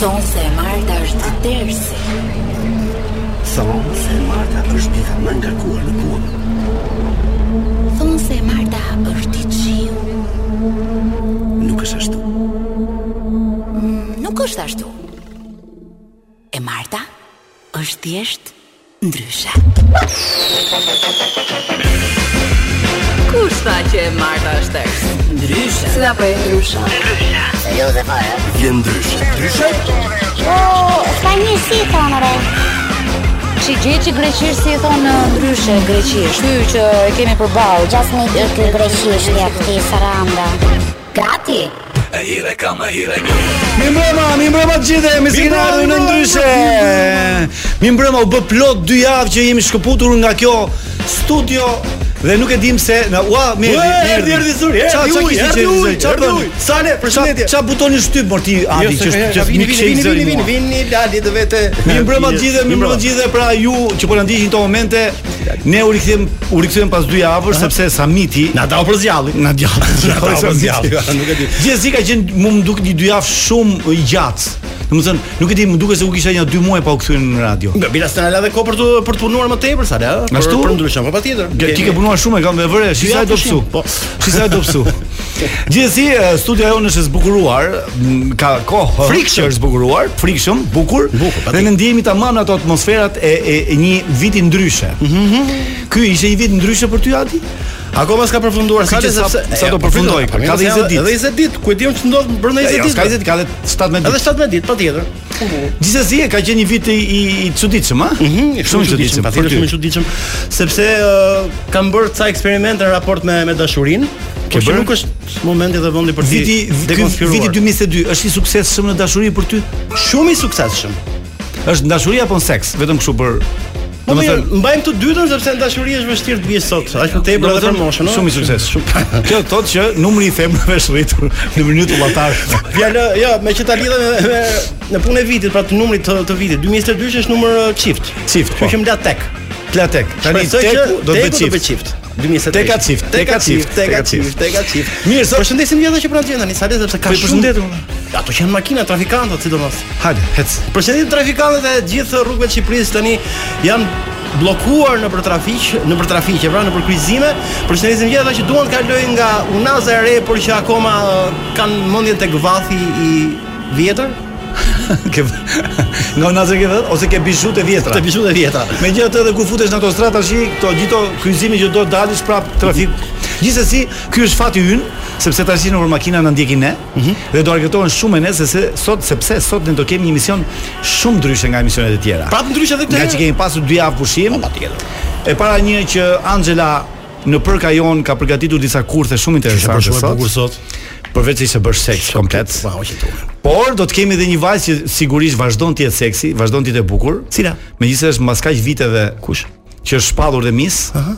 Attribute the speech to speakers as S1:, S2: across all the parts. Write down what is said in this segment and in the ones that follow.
S1: Thonë se e Marta është dersi.
S2: Thonë se Marta është dita më ngarkuar në punë.
S1: Thonë se e Marta është i qiu.
S2: Nuk është ashtu.
S1: Nuk është ashtu. E Marta është thjesht ndryshe.
S3: Kush tha që e Marta është tërës? Ndryshe. Si apo e ndryshe?
S2: Je ndryshe. Ndryshe?
S4: Ka një si thonë re
S5: Shi gjë që greqisht si e thonë ndryshe greqisht. Ky që e kemi përballë.
S4: Gjas me ditë greqisht ja këti saranda
S1: Gati.
S6: E hire kam e hire
S7: Mi mbrëma, mi mbrëma të gjithë, mi s'kina ardhur në ndryshe. Mi mbrëma u bë plot dy javë që jemi shkëputur nga kjo studio dhe nuk e dim se na ua mi
S8: Ua, erdhi, erdhi zuri,
S7: Qa-
S8: erdhi
S7: qa
S8: uji,
S7: kishte
S8: erdhi
S7: qenë
S8: uji,
S7: zëri? Qa
S8: erdhi
S7: bën?
S8: uji. Sale,
S7: Qa-
S8: përshëndetje. Jo,
S7: Qa butoni shtyp mor ti Adi që është që është
S8: vini,
S7: mik shej
S8: vini,
S7: zëri.
S8: vini, vini,
S7: mua.
S8: vini, lali të vete.
S7: Mi mbrëma të gjithë, mi mbrëma të gjithë pra ju që po na ndiqni këto momente, ne u rikthem u rikthyem pas dy javësh sepse Samiti
S8: Na dau për zjalli.
S7: Na djallë
S8: Na dau për zjalli, po, nuk e di.
S7: Gjithsesi ka qenë mu më duket një dy javë shumë i gjatë. Domethënë, nuk e di, më duket se u kisha një dy muaj pa u kthyer në radio.
S8: Nga bila s'na la dhe ko për të për të punuar më tepër sa la, për
S7: Ashtu?
S8: për ndryshim, po patjetër.
S7: Gja- Ti ke punuar shumë e kam me vërë, shi
S8: Ja,
S7: sa e do
S8: pushim,
S7: psu.
S8: po.
S7: shi sa e do psu. Gjithsesi, e, studia jonë është e zbukuruar, m, ka kohë.
S8: Frikshëm.
S7: që është zbukuruar, frikshëm, bukur.
S8: Po. Bukur, po, patjetër.
S7: dhe ne ndjehemi tamam në ato atmosferat e, e, e një viti ndryshe.
S8: Mhm,
S7: Ky ishte një vit ndryshe për ty Adi?
S8: Akoma s'ka përfunduar
S7: Ky
S8: sa
S7: që sa- sa do përfundoj, ka 20 ditë.
S8: Edhe 20 ditë, ku e diun që ndodh brenda
S7: E,
S8: 20
S7: jo,
S8: ditë.
S7: s'ka 20 ditë, ka edhe 17 ditë.
S8: Edhe 17 ditë, patjetër.
S7: Gjithsesi e ka qenë një vit i i, i çuditshëm, a?
S8: Mhm,
S7: shumë i çuditshëm.
S8: patjetër
S7: për ty.
S8: shumë i çuditshëm, sepse ë, kam bërë ca eksperimente në raport me me dashurinë.
S7: Ke
S8: Por që
S7: bërë?
S8: nuk është momenti dhe vendi për
S7: Viti
S8: ti
S7: ky viti 2022 është i suksesshëm në dashuri për ty?
S8: shumë i suksesshëm.
S7: Është në dashuri apo në seks? Vetëm kështu për
S8: Po mirë,
S7: Domethënë-
S8: mbajmë të dytën sepse në dashuri është vështirë të vijë sot, aq më tepër edhe për
S7: Domethënë,
S8: jo, moshën. ëh.
S7: Shumë i suksesshëm. Kjo thotë që numri i femrave është rritur në mënyrë tullatar.
S8: Fjalë, jo, me që ta lidhem me, me në punën e vitit, pra të numrit të, të vitit. 2022 është numër ë, çift.
S7: Çift, po.
S8: Kjo që më la tek.
S7: Platek. Tani
S8: Shpresoj
S7: tek
S8: që
S7: do të
S8: teku
S7: bëj çift.
S8: 2023.
S7: Teka çift, teka çift,
S8: teka
S7: teka
S8: çift,
S7: çift.
S8: teka çift.
S7: Mirë, sot-
S8: përshëndesim gjithë ata që po na dëgjojnë tani, sa le sepse ka
S7: Po, i
S8: shumë.
S7: përshëndetim.
S8: Ato që janë makina trafikantët sidomos.
S7: Hajde, hec.
S8: Përshëndetim trafikantët e gjithë rrugëve të Shqipërisë tani janë bllokuar nëpër trafik, nëpër trafiqe, pra nëpër kryqëzime. Përshëndesim gjithë ata që duan të kalojnë nga unaza e re, por që akoma ë, kanë mendjen tek vathi i vjetër,
S7: Ke nga nazë ke vetë ose ke bizhu të vjetra.
S8: te bishut e vjetra.
S7: Megjithatë edhe kur futesh në autostradë tash këto gjithto kryqëzime që do të dalësh prap trafik. Gjithsesi, ky është fati ynë, sepse tash nëpër makina na ndjekin ne dhe do argëtohen shumë e ne se, se sot sepse sot ne do kemi një mision shumë ndryshe nga emisionet e tjera.
S8: Prapë Po, ndryshe edhe këtë.
S7: Nga
S8: herë.
S7: që kemi pasur dy javë pushim.
S8: patjetër.
S7: E para një që Angela në përka jon ka përgatitur disa kurthe shumë interesante
S8: Është
S7: sot.
S8: bukur sot.
S7: Përveç se ishte bërë seks komplet.
S8: Wow, që tonë.
S7: Por do të kemi edhe një vajzë që sigurisht vazhdon të jetë seksi, vazhdon të jetë e bukur.
S8: Cila?
S7: Megjithëse është mbas kaq viteve kush që është shpallur dhe mis. Aha.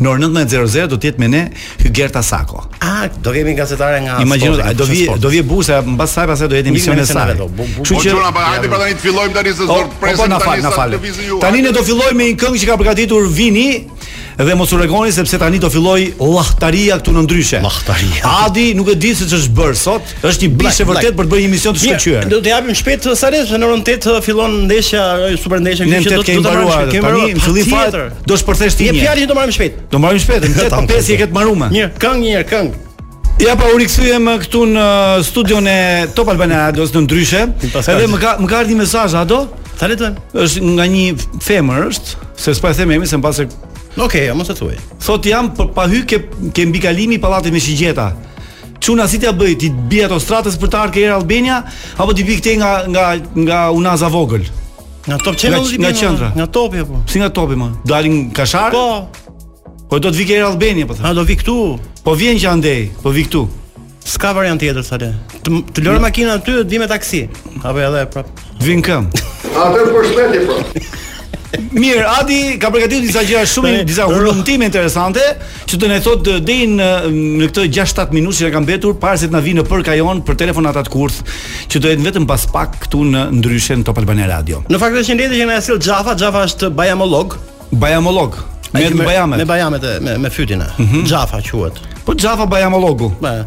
S7: Në orën 19:00 do të jetë me ne Hygerta Sako.
S8: Ah, do kemi gazetare nga
S7: Imagjino,
S8: sporti,
S7: a do
S8: nga
S7: vi
S8: sporti.
S7: do vi busa mbas saj pastaj do jetë emisioni
S8: Një
S7: i
S8: emision
S7: saj.
S8: vetë, bu- bu-
S7: Kështu
S6: Po
S7: që
S6: qona, pa hajde pra tani të fillojmë tani se
S7: O,
S6: zor
S7: o, po
S6: presim
S7: na fal,
S6: tani
S7: na
S6: sa
S7: fal.
S6: lëvizë ju.
S7: Tani ne do filloj me një këngë që ka përgatitur Vini dhe mos u rregoni sepse tani do filloj llahtaria këtu në ndryshe.
S8: Llahtaria.
S7: Adi nuk e di se ç'është bër sot, është një bishë
S8: Black,
S7: vërtet
S8: black.
S7: për të bërë një emision të shkëlqyer.
S8: Mirë, do të japim shpejt uh, Sales, se në orën 8 uh, fillon ndeshja, uh, super ndeshja,
S7: Ne të kemi mbaruar
S8: kemi
S7: tani në fillim fare do shpërthesh ti
S8: Një
S7: një.
S8: fjalë që do marrim shpejt.
S7: Do marrim shpejt, në 8 pa 5 i e ketë marruar.
S8: Mirë, këngë një herë, këngë.
S7: Ja pa u rikthyem eh, këtu në studion e Top Albana Radios në ndryshe.
S8: paskaj.
S7: Edhe më ka më ka ardhi mesazh ato,
S8: Sa le të them?
S7: është nga një femër është, se s'pa e them emrin se mbase
S8: Okej, okay, mos e thuaj.
S7: thot jam për pa hy ke ke mbikalimi i pallatit me shigjeta. Çuna si t'ja bëj ti të bi autostradës për të ardhur ke Air Albania apo ti bi këtej nga nga nga Unaza vogël?
S8: Nga Top Channel
S7: Nga-
S8: do t'i
S7: nga
S8: bëjmë,
S7: qendra.
S8: Nga Topi apo?
S7: Si nga topi më? Dalin Kashar?
S8: Po,
S7: Po do të vi ke Air Albania po
S8: a
S7: thënë.
S8: do vi këtu?
S7: Po vjen që andej, po vi këtu.
S8: S'ka variant tjetër sa le. Të, të lërë makinën aty, të vi me taksi. Apo edhe pra- prap.
S7: Vin këm.
S6: Atë përshëndetje po.
S7: Mirë, Adi ka përgatitur disa gjëra shumë disa hulumtime interesante që do ne thot eh, deri në në këtë 6-7 minutë që na kanë mbetur para se të na vinë në përka jon për telefonata të kurth që do jetë vetëm pas pak këtu në ndryshe në Top Albania Radio.
S8: Në fakt është një letër që na e sill Xhafa, Xhafa është bajamolog.
S7: Bajamolog. Me
S8: Ai që
S7: bajamet. Mhm.
S8: Me bajamet e- me me fytin. Xhafa quhet.
S7: Po Xhafa Bajamologu.
S8: Ba.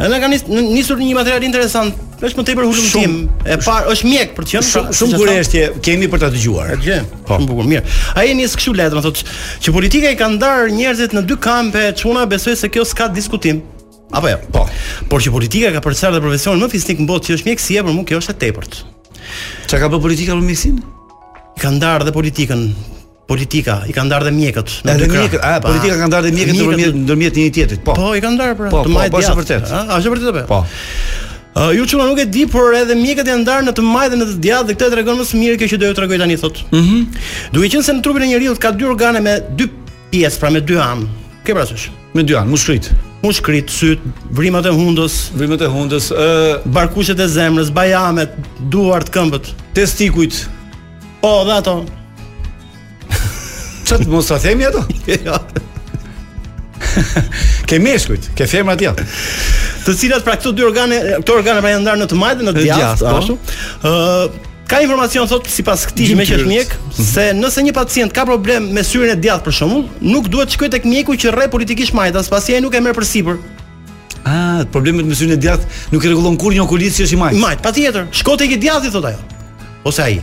S8: Ne kanë nis, nisur një material interesant Është më tepër hulumtim. E parë është mjek për të qenë. pra, siç
S7: Shumë
S8: e
S7: shumë
S8: thamë.
S7: kurështje kemi për ta dëgjuar.
S8: E gjë.
S7: Po.
S8: Shumë bukur, mirë. Ai nis kështu letrën thotë që politika i ka ndarë njerëzit në dy kampe, çuna besoj se kjo s'ka diskutim. Apo jo. Po. Por që politika ka përcjellë dhe profesionin më fisnik në botë që është mjekësia, për mua kjo është e tepërt.
S7: Çka ka bërë politika për mjekësin?
S8: I ka ndarë dhe politikën politika, i ka ndarë dhe mjekët. në
S7: Edhe
S8: dy krah.
S7: mjekët, a
S8: Pa.
S7: politika kanë ndarë dhe mjekët nëpërmjet ndërmjet një tjetrit. Po.
S8: Po, i kanë ndarë pra.
S7: Po,
S8: të
S7: po,
S8: majt
S7: po, është e
S8: djathtë.
S7: vërtetë.
S8: A, a, është e vërtetë apo? jo?
S7: Po.
S8: Ë, ju çuna nuk e di, por edhe mjekët janë ndarë në të majtë dhe në të djathtë dhe këtë e tregon më së miri kjo që do ju tregoj tani thotë. Mhm. Duke qenë se në trupin e njeriu ka dy organe me dy pjesë, pra me dy anë. Ke parasysh?
S7: Me dy anë, mushkrit.
S8: Mushkrit, syt, vrimat e hundës,
S7: Vrimet e hundës, ë
S8: barkushet e zemrës, bajamet, duart, këmbët.
S7: testikujt.
S8: Po, dhe ato.
S7: Çat mos ta themi ato? Ke meshkujt, ke femrat janë.
S8: të cilat pra këto dy organe, këto organe pra janë ndarë në të majtë dhe në të
S7: Në
S8: djathtë,
S7: djathtë, po.
S8: ashtu. Ë ka informacion thot sipas këtij me që është mjek se nëse një pacient ka problem me syrin e djathtë për shembull, nuk duhet të shkojë tek mjeku që rre politikisht majtas, pasi ai nuk e merr përsipër.
S7: Ah, problemet me syrin e djathtë nuk i rregullon kur një okulist që është i majt.
S8: Majt, patjetër, shko tek i djathtë thot ajo. Ose ai.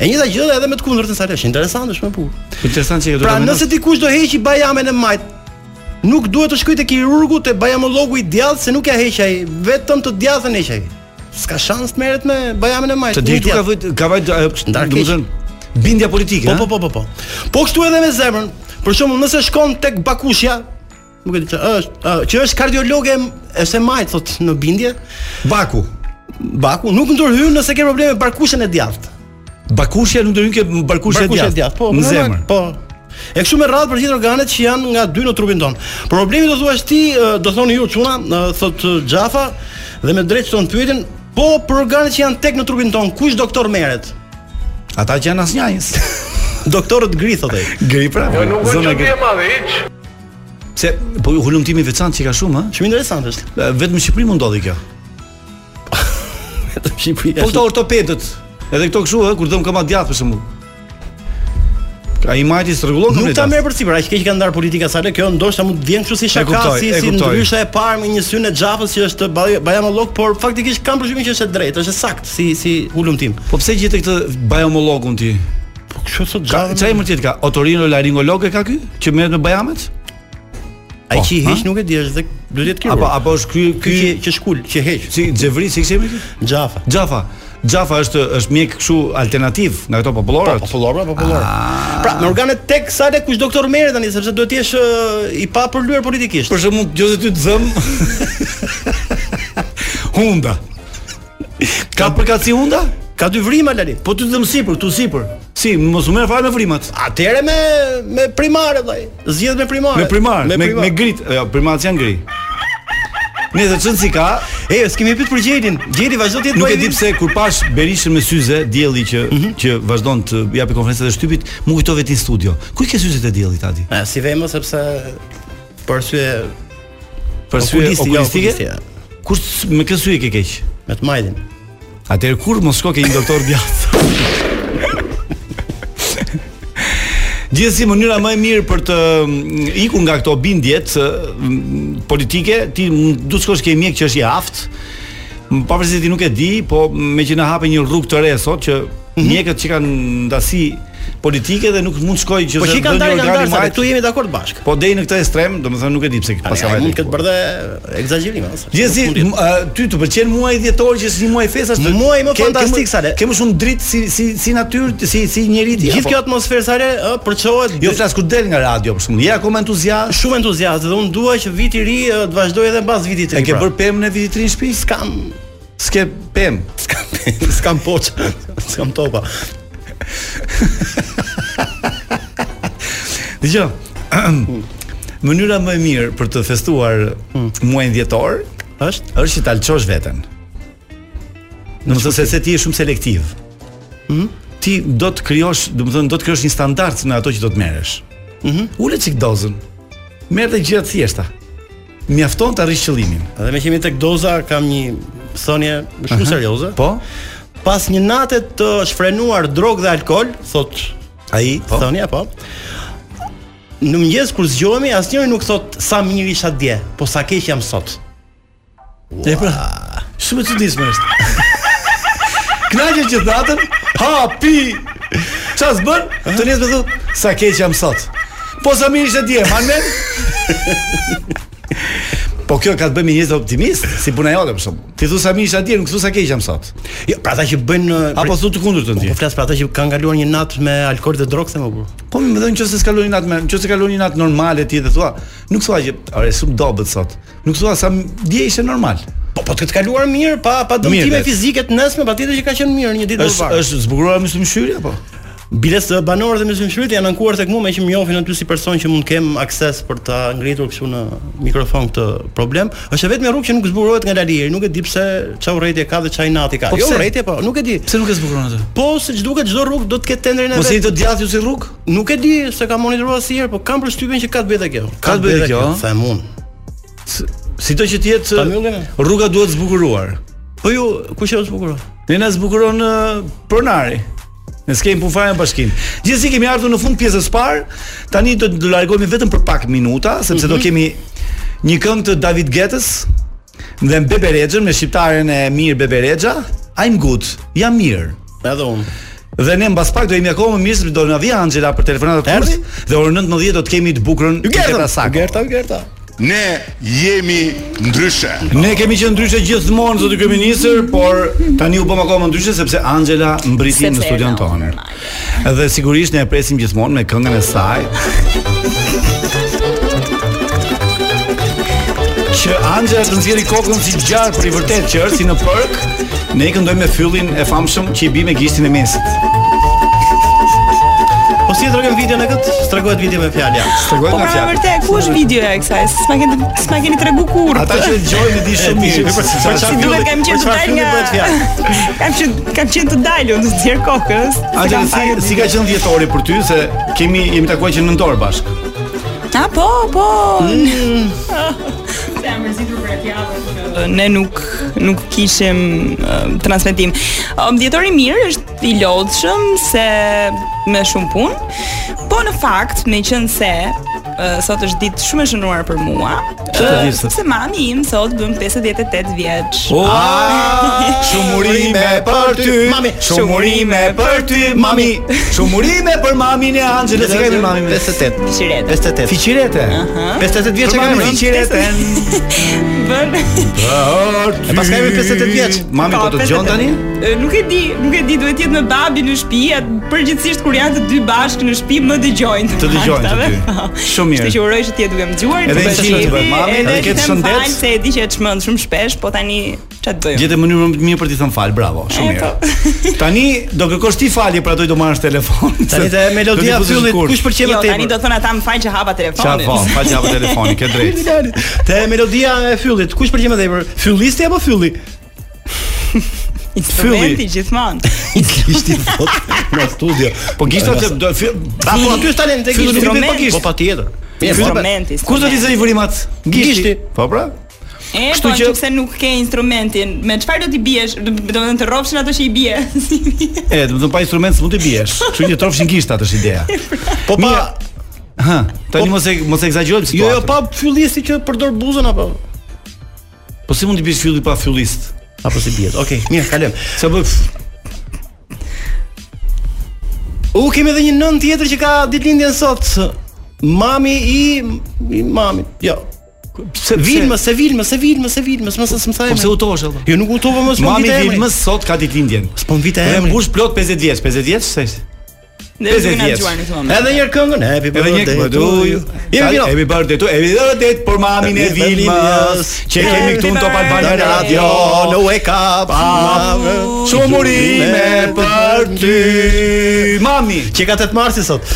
S8: E njëjta gjë edhe me të kundërtën sa është interesante është më punë.
S7: Interesant që e
S8: Pra nëse dikush do heqi bajamen e majt, nuk duhet të shkojë te kirurgu, te bajamologu i djathtë se nuk ja heq ai, vetëm të djathtën heq ai. S'ka shans të merret me bajamen e majt.
S7: të
S8: një
S7: di këtu ka
S8: djathtë.
S7: vëjt ka vëjt
S8: Ndar keq.
S7: domethënë bindja politike.
S8: Po po po po po. Po kështu edhe me zemrën. Për shembull, nëse shkon tek Bakushja, nuk e di çfarë është, ë, që është kardiologe është e majt thot në bindje,
S7: Baku.
S8: Baku nuk ndërhyn nëse ke probleme me barkushën e djathtë.
S7: po. Bakushja nuk ndërhyn ke barkushja
S8: Barkushja e
S7: djathtë.
S8: djathtë, po,
S7: në
S8: normal,
S7: zemër.
S8: Po. E kështu me radhë për gjithë organet që janë nga dy në trupin tonë. Problemi do thuash ti, ë, do thoni ju çuna, ë, thot ë, Xhafa dhe me drejtë ton pyetin, po për organet që janë tek në trupin tonë, kush doktor merret?
S7: Ata që janë asnjajës.
S8: Doktorët gri thotë ai.
S7: Gri pra.
S6: Po,
S7: Zona gri. Se po hulumtimi i veçantë që ka shumë, ë?
S8: Shumë interesant është.
S7: Vetëm në Shqipëri mund ndodhi kjo.
S8: Vetëm Shqipëria.
S7: Po këto ortopedët, edhe këto kështu ë, kur dëm kama djathtë për shembull. Ai majti rregullon
S8: Nuk ta
S7: komunitet.
S8: merr për sipër, aq keq ka ndar politika sa le kjo, ndoshta mund të vjen kështu si shaka,
S7: kuptoj,
S8: si
S7: e
S8: si
S7: kuptoj.
S8: ndryshe e parë me një synë e xhafës që është baj- bajamolog, por faktikisht kam përshtypjen që është e drejtë, është e saktë si si hulumtim.
S7: Po pse gjetë këtë bajomologun ti?
S8: Po kështu thotë
S7: Ka çfarë emër tjetër ka? Otorino laringolog e ka ky që merret me bajamet?
S8: Ai që i
S7: Po,
S8: heq
S7: ha?
S8: nuk e di, është dhe duhet të jetë kirurg.
S7: Apo apo është ky
S8: ky
S7: ky
S8: që, që shkul, që heq,
S7: si Xhevri si kishemi ti?
S8: xhafa.
S7: Xhafa. Xhafa është është mjek kështu alternativ nga këto Po, popullore. Ah.
S8: Popullor, popullor. Pra, me organet tek sa le kush doktor merret tani sepse duhet të jesh ë, i pa përlyer politikisht.
S7: Për shembull, gjoze ty të zëm. hunda. Ka përkatsi hunda?
S8: Ka dy vrima Lali.
S7: Po ty të zëm sipër, tu sipër. Si, mos u merr fare me vrimat.
S8: Atëre me me primare vllai. Zgjedh me primare.
S7: Me primar, me me,
S8: primar.
S7: grit. Jo, primat janë gri. Nëse çon si ka,
S8: E, s'kemi pyet për Gjerin. Gjeri vazhdo të jetë
S7: Nuk
S8: po
S7: e
S8: ai
S7: di pse kur pash Berishën me syze, dielli që që vazhdon të japi konferencat e shtypit, mu kujtove ti në studio. Ku i ke syzet e diellit aty?
S8: E, si vemo sepse për arsye
S7: Për sy
S8: okulisti, jo,
S7: okulistike?
S8: okulisti, ja.
S7: Kur s- me kë sy e ke keq?
S8: me të majtin.
S7: Atëherë kur mos shko ke një doktor djathtë. Gjithsesi mënyra më e mirë për të mm, ikur nga këto bindjet mm, politike, ti mm, du të shkosh ke mjek që është i aft. m, Pavarësisht se ti nuk e di, po me që na hape një rrugë të re sot që
S8: Mhm.
S7: mjekët që kanë ndasi politike dhe nuk mund shkojë që
S8: Po
S7: se
S8: që i
S7: do
S8: kanë
S7: një
S8: ndarë, i kanë
S7: organ i
S8: ndarë, sa ne
S7: majtë.
S8: këtu jemi dakord bashkë.
S7: Po deri në këtë ekstrem, domethënë nuk e di pse
S8: Pas
S7: pasaj.
S8: mund këtë bërë dhe egzagjerim. ose?
S7: Gjithsesi,
S8: Nuk mund
S7: m- a, ty të pëlqen muaji dhjetor që është një muaj festash? të-
S8: Muaji më
S7: ke- ke
S8: fantastik,
S7: më-
S8: Sale.
S7: Ke më shumë dritë si si si natyrë, si si njeri ti.
S8: jetë. Gjithë
S7: apo?
S8: kjo atmosferë sare ë, përçohet
S7: po. Jo flas kur del nga radio për shkakun. Je akoma entuziast.
S8: shumë entuziazëm dhe unë dua që viti i ri ë, të vazhdojë edhe mbas vitit të
S7: E
S8: ri.
S7: ke
S8: pra.
S7: bër pemën e vitit të ri në shtëpi?
S8: skam,
S7: S'ke pemë.
S8: skam, skam poçë, skam topa.
S7: Dgjoj. Mënyra më e mirë për të festuar
S8: Hmm.
S7: muajin dhjetor
S8: Është?
S7: është që ta lçosh veten. Në të se se ti je shumë selektiv. Mhm. Ti do të krijosh, domethënë do të krijosh një standard në ato që do të merresh. Mhm. Ule çik dozën. Merr të gjitha të thjeshta. Mjafton të arrish qëllimin.
S8: Edhe me qemi tek doza kam një thënie shumë serioze.
S7: Po?
S8: Pas një nate të shfrenuar drogë dhe alkool, thot
S7: Ai, po.
S8: thënia po. Në mëngjes kur zgjohemi, asnjëri nuk thot sa mirë isha dje, po sa keq jam sot.
S7: E pra,
S9: Shumë e çuditshme është.
S7: Knaqe që natën, hapi. Ça s'bën? Të nesër thu, sa keq jam sot. Po sa mirë ishte dje, man men. Po kjo ka të bëjë me njerëz optimist, si puna jote për shembull. Ti thu sa mirë isha dje, nuk thu sa keq jam sot.
S8: Jo, pra ata që bëjnë uh,
S7: Apo thu të kundërtën ti.
S8: po flas për ata që kanë kaluar një natë me alkool dhe drogë më kur.
S7: Po më thënë nëse s'kalon një natë, me- nëse kalon një natë normale ti dhe thua, nuk thua që, "Ore, s'm dobët sot." Nuk thua sa m- dje ishte normal.
S8: Po po të të kaluar mirë, pa pa dëmtime
S7: Mirë,
S8: fizike të nesme, patjetër që ka qenë mirë një ditë më
S7: Është
S8: parë.
S7: është zbukuruar me po? symshyrje apo?
S8: Biles të banorët e mësimshmërit janë ankuar tek mua me që më njohin aty si person që mund kem akses për ta ngritur kështu në mikrofon këtë problem. Është e vetmja rrugë që nuk zbukurohet nga Laliri, nuk e di pse ç'a urrëtie ka dhe ç'a inati ka.
S9: Po
S8: jo
S9: pse?
S8: urrëtie po, nuk e di.
S9: Pse nuk e zbukuron atë?
S8: Po se ç'duket çdo rrugë do të ketë
S7: Po
S8: tendrin e
S9: Mos
S8: vet.
S9: jeni të djathtë ju Po si rrugë?
S8: Nuk e di se ka monitoruar asnjëherë, po kam përshtypjen që ka të bëjë dhe kjo.
S9: Ka të bëjë dhe kjo, ëh?
S8: Them unë.
S7: Si do që të jetë
S8: Ta mbyllim e?
S7: rruga duhet zbukuruar.
S8: Po ju, kush e zbukuron?
S7: Ne na zbukuron ë, pronari. Ne s'kem punë fare në bashkim. Gjithsesi kemi ardhur në fund pjesës parë. Tani do të largohemi vetëm për pak minuta, sepse
S8: Mhm.
S7: do kemi një këngë të David Getës dhe Bebe Rexhën me shqiptaren e mirë Bebe Rexha, I'm good, jam mirë.
S8: Edhe unë.
S7: Dhe ne mbas pak do jemi akoma më mirë sepse do na vi Angela për telefonatën e
S8: Erdi?
S7: kurth dhe orën 19 do të kemi të bukurën Geta Sako.
S8: Gerta, Gerta.
S6: Ne jemi ndryshe.
S7: Ne kemi qenë ndryshe gjithmonë zoti kryeministër, por tani u bëm akoma ndryshe sepse Angela mbriti
S3: Sepse
S7: në studion
S3: e
S7: tonë. Dhe sigurisht ne e presim gjithmonë me këngën e saj. Që Angela të nxjerrë kokën si gjarë për i vërtet që është si në park. Ne i këndojmë me fyllin e famshëm që i bi me gishtin e mesit.
S8: Po si e tregojmë videon e kët? Stregohet video me fjalë. ja.
S7: Tregoj
S10: Po
S7: nga
S10: pra
S7: fjalë.
S10: vërtet, ku është videoja e kësaj? S'ma keni s'ma keni tregu kurrë.
S7: Ata që dëgjojnë e di shumë mirë.
S8: Për çfarë
S7: Për çfarë
S8: filli-
S10: Duhet kam qenë
S8: për
S10: të
S8: çfarë
S10: dal
S8: filli
S10: nga
S8: bëhet fjalë?
S10: Kam qenë kam qenë të dalur në zjer kokës. se
S7: Angela,
S10: kam
S7: si,
S10: parë
S7: si ka qenë dhjetori për ty se kemi jemi takuar që në nëntor bashkë.
S10: A po, po. Ne nuk nuk kishim ë, transmetim. Um, Dietori mirë është i lodhshëm se me shumë punë. Po në fakt, meqense se ë, sot është ditë shumë e shënuar për mua, ë,
S7: ditë sot?
S10: sepse mami im sot bën 58 vjeç.
S7: Po. Ua, shumurime për ty,
S8: Mami,
S7: shumurime për ty, mami, shumurime për mamin e Anxhelës, se kemi mamin.
S8: 58.
S10: Shiret.
S8: 58.
S7: Fiqirete.
S8: 58 vjeç e ka emrin.
S7: fiqireten.
S10: Bën
S7: E pas
S8: ka emrin 58 vjeç.
S7: Mami po të dëgjon tani?
S10: Ë, Nuk e di, nuk e di, duhet të jetë me babi në shtëpi, atë përgjithsisht kur janë të dy bashkë në shtëpi më dëgjojnë.
S7: Të dëgjojnë të dy. Shumë mirë.
S10: Kështu që uroj që të jetë duke më dëgjuar.
S7: Edhe
S10: të bësh
S7: i qenë të bëj mami,
S10: mirë,
S7: edhe ketë
S10: të
S7: shëndet.
S10: Falë se e di që e çmend shumë shpesh, po tani ç'a të bëjmë?
S7: Gjete mënyrën më të mirë për t'i thënë fal, bravo, shumë
S10: E, po.
S7: mirë. Tani do kërkosh ti falje, pra do i do marrësh telefon.
S8: Tani
S7: se
S8: te
S7: do t'i
S8: melodia
S7: buzësh
S8: fyllit
S7: kurrë.
S8: kush pëlqen më
S10: Jo, tani
S8: tepër?
S10: do të thonë ata më fal që hapa
S7: Qa
S10: telefonin.
S7: po, pa qa po telefoni, ke drejt
S8: Te melodia e fyllit kush pëlqen më tepër? Fyllisti apo fylli?
S10: Instrumenti gjithmonë.
S8: Gishti sot në studio.
S7: Po gishta se do fy-
S8: Ta po aty është talent e gishti.
S10: Instrument.
S8: Po gishti. Po patjetër.
S10: Instrumenti.
S7: Kur do t'i zëri vërimat?
S8: Gishti.
S7: Po pra.
S10: E,
S7: Kështu
S10: po
S7: që-
S10: që... nëse nuk ke instrumentin, me çfarë do t'i biesh? Do do të thënë të rrofshin ato që i bie. Si bie.
S7: E, do të thënë pa instrument s'mund të biesh. Kështu që trofshin gishtat është ideja.
S8: Po pa
S7: Mirë. Hë, tani mos e mos e egzagjerojmë
S8: Jo,
S7: situatën.
S8: jo, pa fyllisti që përdor buzën apo
S7: po si mund të bish fylli pa fyllist?
S8: apo si bie. Okej, mirë, kalojmë.
S7: Sa bëj
S8: U kemi edhe një nën tjetër që ka ditëlindjen sot. Mami i, i mamit. Jo.
S7: pse
S8: Vilma, se Vilma, se Vilma, se Vilma, mos mos më thaj.
S7: Po pse
S8: emrin.
S7: utosh atë?
S8: Jo, nuk u tova mos më
S7: Mami
S8: vite emri.
S7: Vilmës sot ka ditëlindjen.
S8: Po më vite
S7: Dhe
S8: emri.
S7: mbush plot 50 vjeç, 50 vjeç, se
S10: Ne do
S7: 50
S10: të na
S7: vjeç.
S10: dëgjuar në këtë moment.
S8: Edhe një herë këngën Happy
S7: Edhe një
S8: Birthday
S7: këtu
S8: to you. Jemi
S7: Jemi
S8: vino.
S7: Happy birthday to Happy birthday për mamin e
S8: Happy
S7: Vilmës
S8: birthday.
S7: Që kemi këtu në Top
S8: Në
S7: Albana
S8: radio,
S7: Radio
S8: në wake up. mm,
S7: Shumë murime për ty Mami
S8: Që ka 8 marsi sot.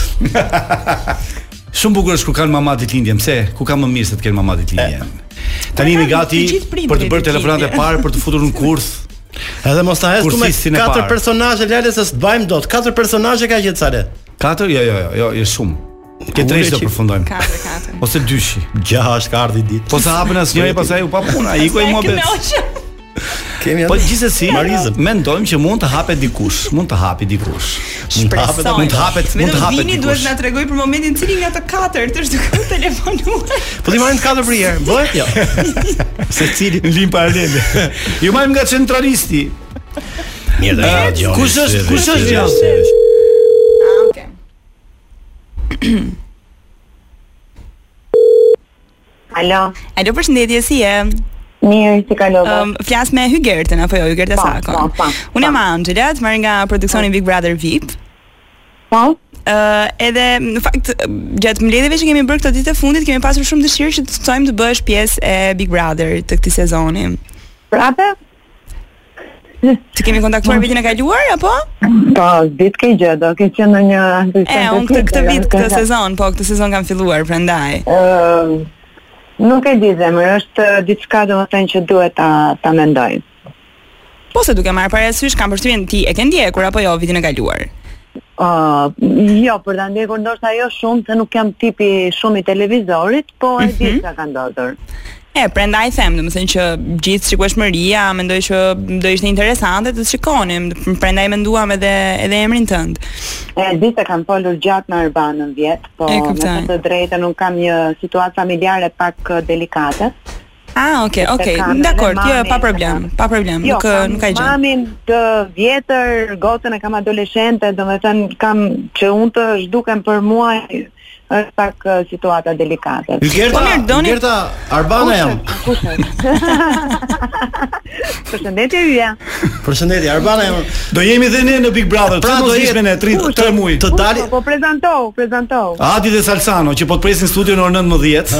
S7: Shumë bukur është kur kanë mama ditëlindje, pse? Ku ka më mirë se të kenë mama ditëlindje? Tani jemi
S10: kanë
S7: gati
S10: të gjithë prindrit
S7: për të bërë telefonat e
S10: ditëlindje.
S7: parë për të futur në kurth.
S8: Edhe mos ta hestu me
S7: Kursistin e
S8: katër
S7: parë.
S8: personazhe lale se s'bajm dot. Katër personazhe ka gjetë sale.
S7: Katër? Jo, jo, jo, jo, është shumë. Ke tresh do
S8: që-
S7: përfundojmë.
S10: 4 4.
S7: Ose dyshi.
S8: Gjashtë ka ardhi ditë.
S7: Po sa hapën asnjëri pastaj u pa puna, iku ai
S10: Ai
S7: mohabet.
S10: kënaqë.
S8: kemi atë.
S7: Po gjithsesi,
S8: Marizën.
S7: mendojmë që mund të hapet dikush, mund të hapi dikush. Mund të hapet,
S10: Shpresoj.
S7: mund të hapet, mund të hapet
S10: Vetëm vini duhet
S7: dikush.
S10: na tregoj për momentin cili nga të katërt është duke u telefonuar.
S8: Po ti marrin të katër për një herë, bëhet jo.
S7: Secili lin paralele. Ju marrim nga centralisti.
S8: Mirë,
S7: Eh, kush është- kush është kjo?
S10: Ah, okay.
S11: Alo,
S10: Alo, përshëndetje, si je?
S11: mirë, si kalova?
S10: Um, flas me Hygertën apo jo, Hygerta
S11: Pa,
S10: Sakon.
S11: pa, pa,
S10: Unë jam Angela, të marr nga produksioni Big Brother VIP.
S11: Po.
S10: Uh, edhe në fakt gjatë mbledhjeve që kemi bërë këto ditë të fundit kemi pasur shumë dëshirë që të ftojmë të bësh pjesë e Big Brother të këtij sezoni.
S11: Prapë?
S10: Të kemi kontaktuar vitin e kaluar apo?
S11: Po, ditë ke gjë, do ke qenë në një
S10: E, unë këtë këtë vit, këtë sezon, po këtë sezon kam filluar prandaj.
S11: Ë, nuk e di zemër, është ë, diçka domethënë që duhet ta ta mendoj.
S10: Po se duke marrë parasysh kam përshtypjen ti e ke ndjekur apo jo vitin e kaluar.
S11: Uh, jo, për ta ndjekur ndoshta jo shumë, se nuk jam tipi shumë i televizorit, po e di
S5: Mhm.
S11: çka ka ndodhur.
S10: E, prandaj them, domethënë që gjithë shikueshmëria mendoj që do ishte interesante të shikonim, prandaj menduam edhe edhe emrin tënd.
S11: E di se kam folur gjatë me Urbanën vjet, po
S10: E,
S11: me
S10: kuptoj.
S11: të të drejtën unë kam një situatë familjare pak ë, delikate.
S10: Ah, okay,
S11: Se
S10: okay.
S11: kam edhe
S10: Dakor, jo,
S11: mamin, Jo,
S10: pa problem, pa problem, nuk
S11: kam
S10: nuk ka gjë.
S11: Mamin të vjetër, gocën e kam adoleshente, domethënë kam që unë të zhdukem për muaj është pak eh, situata delikate.
S10: Po
S8: Gerta, Gerta Arbana jam.
S11: Përshëndetje yja.
S8: Përshëndetje Arbana jam.
S7: Do jemi dhe ne në Big Brother.
S8: Pra,
S7: Pse do ishme ne 3 3 muaj?
S8: Të dali
S11: Po prezantoj, prezantoj.
S7: Adi dhe Salsano që po të presin studio në orën 19.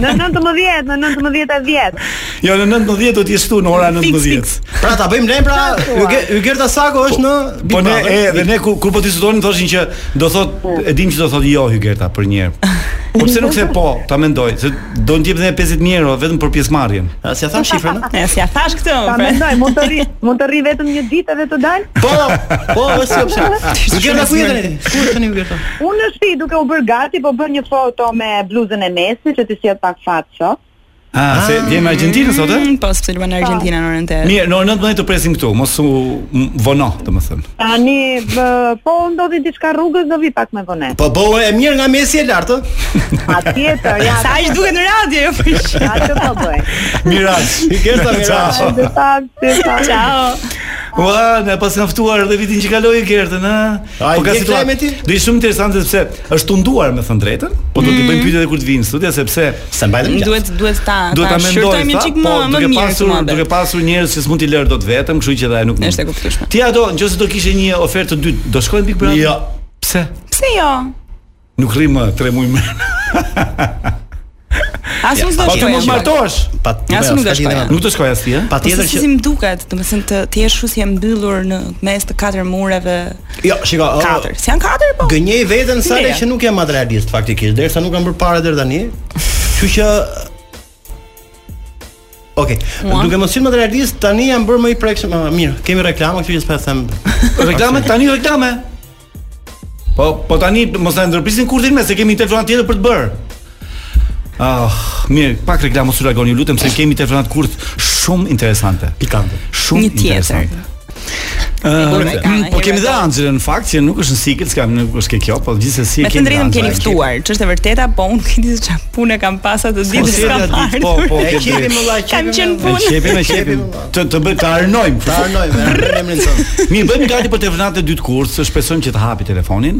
S11: Në 19, në 19 e 10.
S7: Jo, në 19 do të jesh tu në ora 19.
S8: Pra ta bëjmë lem pra
S11: Sa thua?
S8: Yge- Ygerta Sako është në Big
S7: Po ne
S8: Brother.
S7: e dhe ne kur, kur po diskutonin thoshin që do thot e dim që do thot jo Hygerta për një herë. Po pse nuk the po, ta mendoj, se do të jep edhe 50000 euro vetëm për pjesëmarrjen.
S8: A, Si ja tham shifrën? a?
S10: Ne s'ja thash këtë,
S11: Ta
S10: pra.
S11: mendoj, mund të rri, mund të rri vetëm një ditë edhe të dal.
S8: Po, po, është si opsion. Ygerta ku jetën ti? Ku është tani Ygerta?
S11: Unë në shtëpi duke u bërë gati, po bën një foto me bluzën e Messi që ti sjell pak fat sot.
S7: Ah, se vjen në Argjentinë sot, e?
S10: Mm, Po, sepse luan në Argentinë në orën 8.
S7: Mirë, në orën 19 të presim këtu, mos u m- vono, domethënë.
S11: Tani bë, po ndodhi diçka rrugës, do vi pak me vonet.
S8: Po bëu e mirë nga mesi e lartë. ë?
S11: Atjetër, ja.
S10: Sa ish duket në radio jo për shkak.
S11: Atë po bëj.
S7: Miraç.
S8: Ygerta Miraç.
S11: Ai do ta, do ta.
S10: Ciao.
S7: Ua, ne pas kanë ftuar edhe vitin që kaloi Gertën, ha. Po
S8: Ai, je
S7: situatë.
S8: klejme ti?
S7: Do ishte shumë interesante sepse është tunduar me thënë drejtën, po do të bëjmë pyetje edhe kur të vinë në studio sepse
S8: Sa mbajtëm gjatë.
S10: Duhet duhet ta
S7: duhet ta mendoj
S10: shqyrtojmë një
S7: tha,
S10: çik
S7: po
S10: më më
S7: duke
S10: mirë.
S7: pasur
S10: këtë
S7: duke
S10: model.
S7: pasur njerëz që s'mund t'i lërë dot vetëm, kështu që edhe ai nuk mund.
S10: Është e kuptueshme.
S7: Ti ato, nëse do kishe një ofertë të dytë, do shkojnë Big Brother?
S8: Jo.
S7: Pse?
S10: Pse jo?
S7: Nuk rri më 3 muaj më.
S10: As unë s'do
S7: Po ti
S10: shkoj.
S7: mos martohesh.
S8: Pa,
S10: Ja,
S8: po,
S10: s'u nuk
S8: s'ka
S10: është
S8: lidhje
S10: ajo.
S8: me-
S7: Nuk do shkoj as ti, ha?
S10: Patjetër
S8: Patjetër
S10: që
S8: që
S10: si më duket, domethënë të ti je kështu si e mbyllur në mes të katër mureve.
S8: Jo, shiko, ë,
S10: Katër. Si janë katër po?
S8: Gënjej veten sa le
S10: Mirë.
S8: që nuk jam materialist faktikisht, derisa nuk kam bërë parë deri tani. Kështu që Okej, duke mos qenë materialist, tani jam bërë më i prekshëm. Ah, mirë, kemi reklama, kështu që s'pa e them.
S7: Reklame tani reklame. Po po tani mos na ndërprisin kurtin me se kemi telefonat tjetër për të bërë. Ah, mirë, pak reklamë mos u largoni, ju lutem se kemi telefonat kurt shumë interesante.
S8: Pikante.
S7: Shumë
S10: Një tjetër.
S7: interesante. Ë, po kemi dhe Anxhelën në fakt që nuk është në siklet, s'kam nuk është ke kjo, po gjithsesi
S10: Me
S7: e
S10: të
S7: kemi.
S10: drejtën keni
S7: Anxhelën.
S10: ftuar, ç'është e vërteta, po unë nuk e di se çfarë punë kam pasur atë ditë
S7: si
S10: s'ka
S7: atë ditë,
S10: marrë.
S7: po, po,
S8: E
S7: ke
S8: kemi
S7: drejtë.
S8: më vllaj,
S10: Kam
S8: kemi
S10: qenë
S8: më-
S10: punë.
S7: E Shepim, e shepim. Të të bëj të arnojmë.
S8: Ta arnoj me me emrin tonë.
S7: Mirë, bëjmë gati për telefonat e dytë kurs, shpresojmë që të hapi telefonin.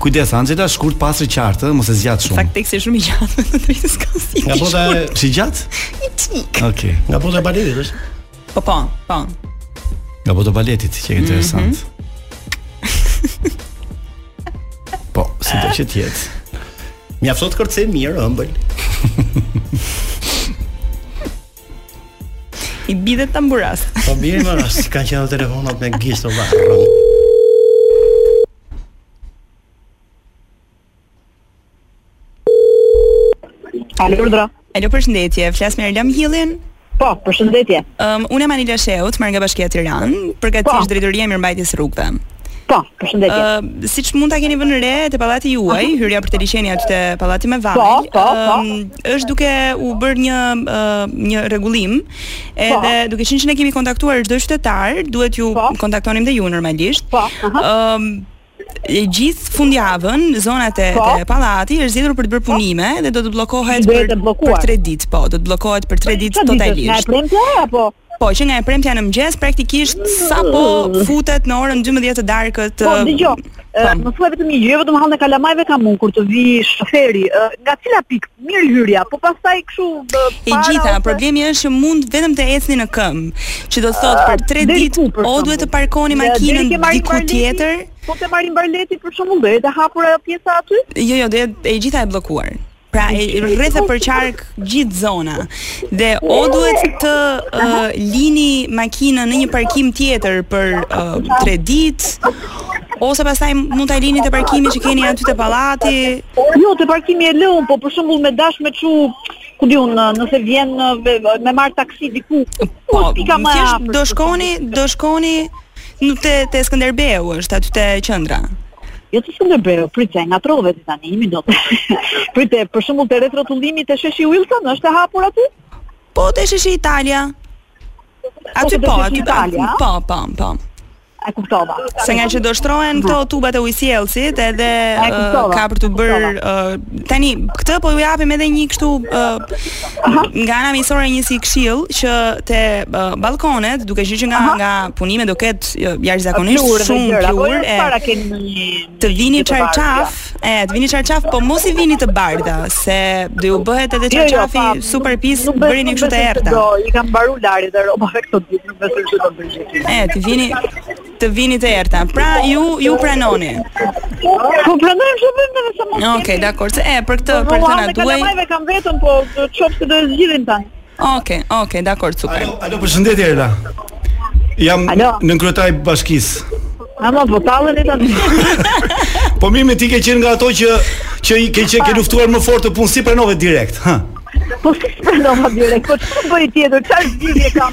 S7: Kujdes Anxela, shkurt pasër qartë, ëh, mos e zgjat shumë.
S10: Fakt teksti është shumë i gjatë, të drejtë s'ka si.
S8: Nga bota e
S7: po Si gjat? Okej. Okay.
S8: nga bota e baletit është.
S10: Po po, po.
S7: Nga bota baletit, që e
S11: Mhm.
S7: interesant. po, si do që tjetë.
S8: Mjaftot kërcen mirë ëmbël.
S10: I bidet tamburas.
S8: Po mirë më rast, si kanë qenë telefonat me gisht valla.
S11: Alurdra.
S10: Alo, përshëndetje. Flas me Erlam Hillin.
S11: Po, përshëndetje.
S10: Um, unë jam Anila Sheut, marrë nga Bashkia e Tiranë, përgatish
S11: Po.
S10: drejtoria e mirëmbajtjes rrugëve.
S11: Po, përshëndetje.
S10: Ë, siç mund ta keni vënë re te pallati juaj, hyrja për te liçeni aty te pallati me vaj.
S11: Mhm. Po, po, po.
S10: është duke u bërë një ë, një rregullim, edhe
S11: Po.
S10: duke qenë që ne kemi kontaktuar çdo qytetar, duhet ju kontaktonim dhe ju normalisht. Po. Ëm e gjithë fundjavën zonat e,
S11: Po.
S10: e pallati është zgjedhur për të bërë punime dhe do të bllokohet
S11: Dhe
S10: për
S11: të bllokuar.
S10: për 3 ditë, po, do të bllokohet për 3 ditë
S11: Sa ditësh, nga e
S10: totalisht.
S11: premtja apo
S10: Po, që nga e premtja në mëngjes praktikisht sapo futet në orën 12 të darkët.
S11: Mm. Po,
S10: ë,
S11: dëgjoj. ë, Më thuaj vetëm një gjë, jo vetëm hallën e kalamajve kam unë kur të vi shoferi. ë, Nga cila pikë mirë hyrja, po pastaj kështu bë,
S10: E
S11: para
S10: gjitha,
S11: ose-
S10: problemi është që mund vetëm të ecni në këmbë, që do të thotë për 3
S11: Ah, Deri
S10: ditë
S11: ku, për
S10: o
S11: shembull?
S10: duhet të parkoni
S11: Dhe
S10: makinën
S11: deri ke marrin
S10: diku
S11: barleti,
S10: tjetër.
S11: Po të marrin barleti për shembull, do jetë e hapur ajo pjesa aty?
S10: Jo, jo, dhe e gjitha e bllokuar. Pra e rreth e përqark gjithë zona dhe o duhet të uh, lini makinën në një parkim tjetër për uh, 3 ditë ose pastaj mund ta lini te parkimi që keni aty te pallati.
S11: Jo, te parkimi e lëun, po për shembull me dash me çu, ku diun, nëse vjen me, me marr taksi diku. Po, pika më
S10: Thjesht
S11: afër.
S10: do shkoni, do shkoni në te te Skënderbeu është aty te qendra.
S11: Jo të Skënderbeu, pritë nga trove ti tani, një minutë. pritë, për shembull te retrotullimit te sheshi Wilson, është e hapur aty?
S10: Po, te sheshi Italia. Aty
S11: te
S10: po,
S11: sheshi
S10: aty
S11: Italia?
S10: Po, po, po.
S11: E kuptova.
S10: Se nga që do shtrohen këto tubat e ujësiellësit edhe
S11: Mhm. E kuptova,
S10: ë, ka për të bërë ë, tani këtë po ju japim edhe një kështu ë, nga ana miqësore një si këshill që te ë, balkonet, duke qenë që nga nga punime do ketë ë, jashtëzakonisht
S11: Plurë dhe
S10: shumë
S11: gjëra, po
S10: plur
S11: jo,
S10: e
S11: para keni një
S10: Të vini
S11: një të bardhë,
S10: çarçaf, e, të vini çarçaf, po mos i vini të bardha, se do ju bëhet
S11: Jo,
S10: edhe
S11: jo,
S10: çarçafi
S11: pa,
S10: super pis,
S11: nuk besoj-
S10: bërini
S11: nuk besoj
S10: kështu të
S11: se
S10: errta.
S11: Do, i kam mbaru larit e robave këto ditë, nuk besoj se do bëj.
S10: E, të vini të vini të errta. Pra ju ju pranoni.
S11: Po pranojmë çfarë bëjmë ne sa mos.
S10: Okej, dakor. Se e për këtë për këtë
S11: Rohan
S10: na
S11: dhe
S10: duaj.
S11: kalamajve kam vetëm, po të qoftë se do e zgjidhin tani.
S10: Okej, okej, dakor, super.
S7: Alo, përshëndetje Erla. Jam në kryetaj bashkisë.
S11: Ama po tallën e tani.
S7: Po mirë me ti ke qenë nga ato që që i ke që ke luftuar më fort të punë si pranove direkt, hë.
S11: Po si pranova direkt, po çfarë bëj tjetër? Çfarë zgjidhje kam?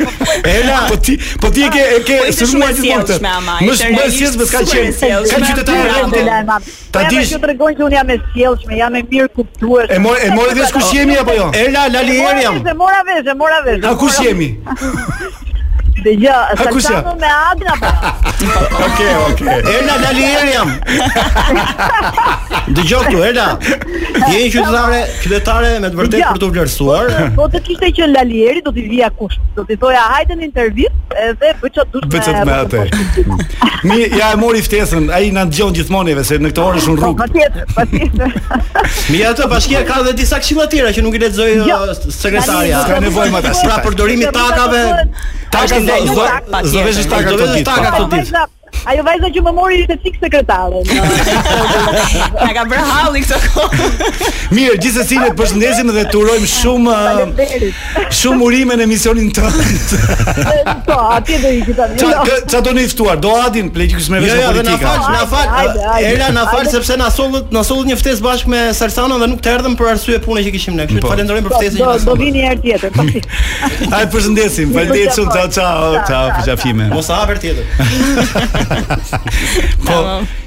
S7: Ela, po ti po ti e ke e ke
S11: Po ishte shumë
S7: sulmuar
S11: e
S7: gjithmonë këtë.
S11: sjellshme, ama,
S7: Më
S11: ishte
S7: shumë
S11: realisht
S7: sjellshme s'ka
S11: super e
S7: qenë. Ka
S11: sjellshme.
S7: qytetarë
S11: Alhamdulillah,
S7: rëndë.
S11: mam.
S7: Ta
S11: Ja,
S7: dish
S11: Ju tregoj që un jam e sjellshme, jam e mirë kuptues.
S7: E more- e more vesh kush jemi apo jo? Erla, Lali Er jam.
S11: Se mora vesh, e mora vesh.
S7: A kush jemi?
S11: Dëgjoj,
S7: A kush jam?
S11: Saltano me Adra. po.
S7: Okej, okej.
S8: Erla Lalier jam. Dëgjoj këtu, Erla. Je një qytetare, qytetare me të vërtetë
S11: Dëgjoj.
S8: për të vlerësuar.
S11: Po të kishte qenë Lalieri, do t'i vija kush. Do t'i thoja hajde në intervistë edhe bëj çfarë dush.
S7: Bëcet me atë. Mi ja e mori ftesën, ai na dëgjon gjithmonë neve se në këtë orë është në rrugë.
S11: Po, Patjetër, patjetër.
S8: Mi ato bashkia ka edhe disa këshilla tjera që nuk i lexoj
S11: Jo.
S8: uh, sekretarja.
S7: Tani, S'ka nevojë më tash.
S8: Pra përdorimi i takave.
S7: Taka zdo- zdo- zdo veshësh taka
S8: Zdo
S7: këtë
S8: veshësh
S7: ditë,
S8: taka
S7: po.
S8: këtë ditë.
S11: Vajza- Ajo vajza që më mori ishte fik sekretare.
S10: Na ka bërë halli këto kohë.
S7: Mirë, gjithsesi ne të përshëndesim dhe të urojmë shumë ë, shumë urime në emisionin tënd.
S11: Po, atje do i Jo, tani.
S7: Ça kë- ça do në i ftuar? Do Adin pleqës me
S8: Jo,
S7: veshë
S8: jo, dhe na
S7: politika.
S8: fal, na fal.
S11: Hajde, hajde.
S8: Era na fal
S11: Hajde.
S8: sepse na sollët, na sollët një ftesë bashkë me Salsano dhe nuk të erdhëm për arsye pune që kishim ne. Kështu
S7: Po.
S8: që falenderojmë për
S11: Do-
S8: ftesën
S11: Do
S8: që na
S11: do
S8: sollët.
S11: vini herë tjetër, po, pasi.
S7: Ai përshëndesim. Faleminderit shumë. Ciao ciao, ciao përshafime.
S8: Mos haver tjetër.
S7: Po,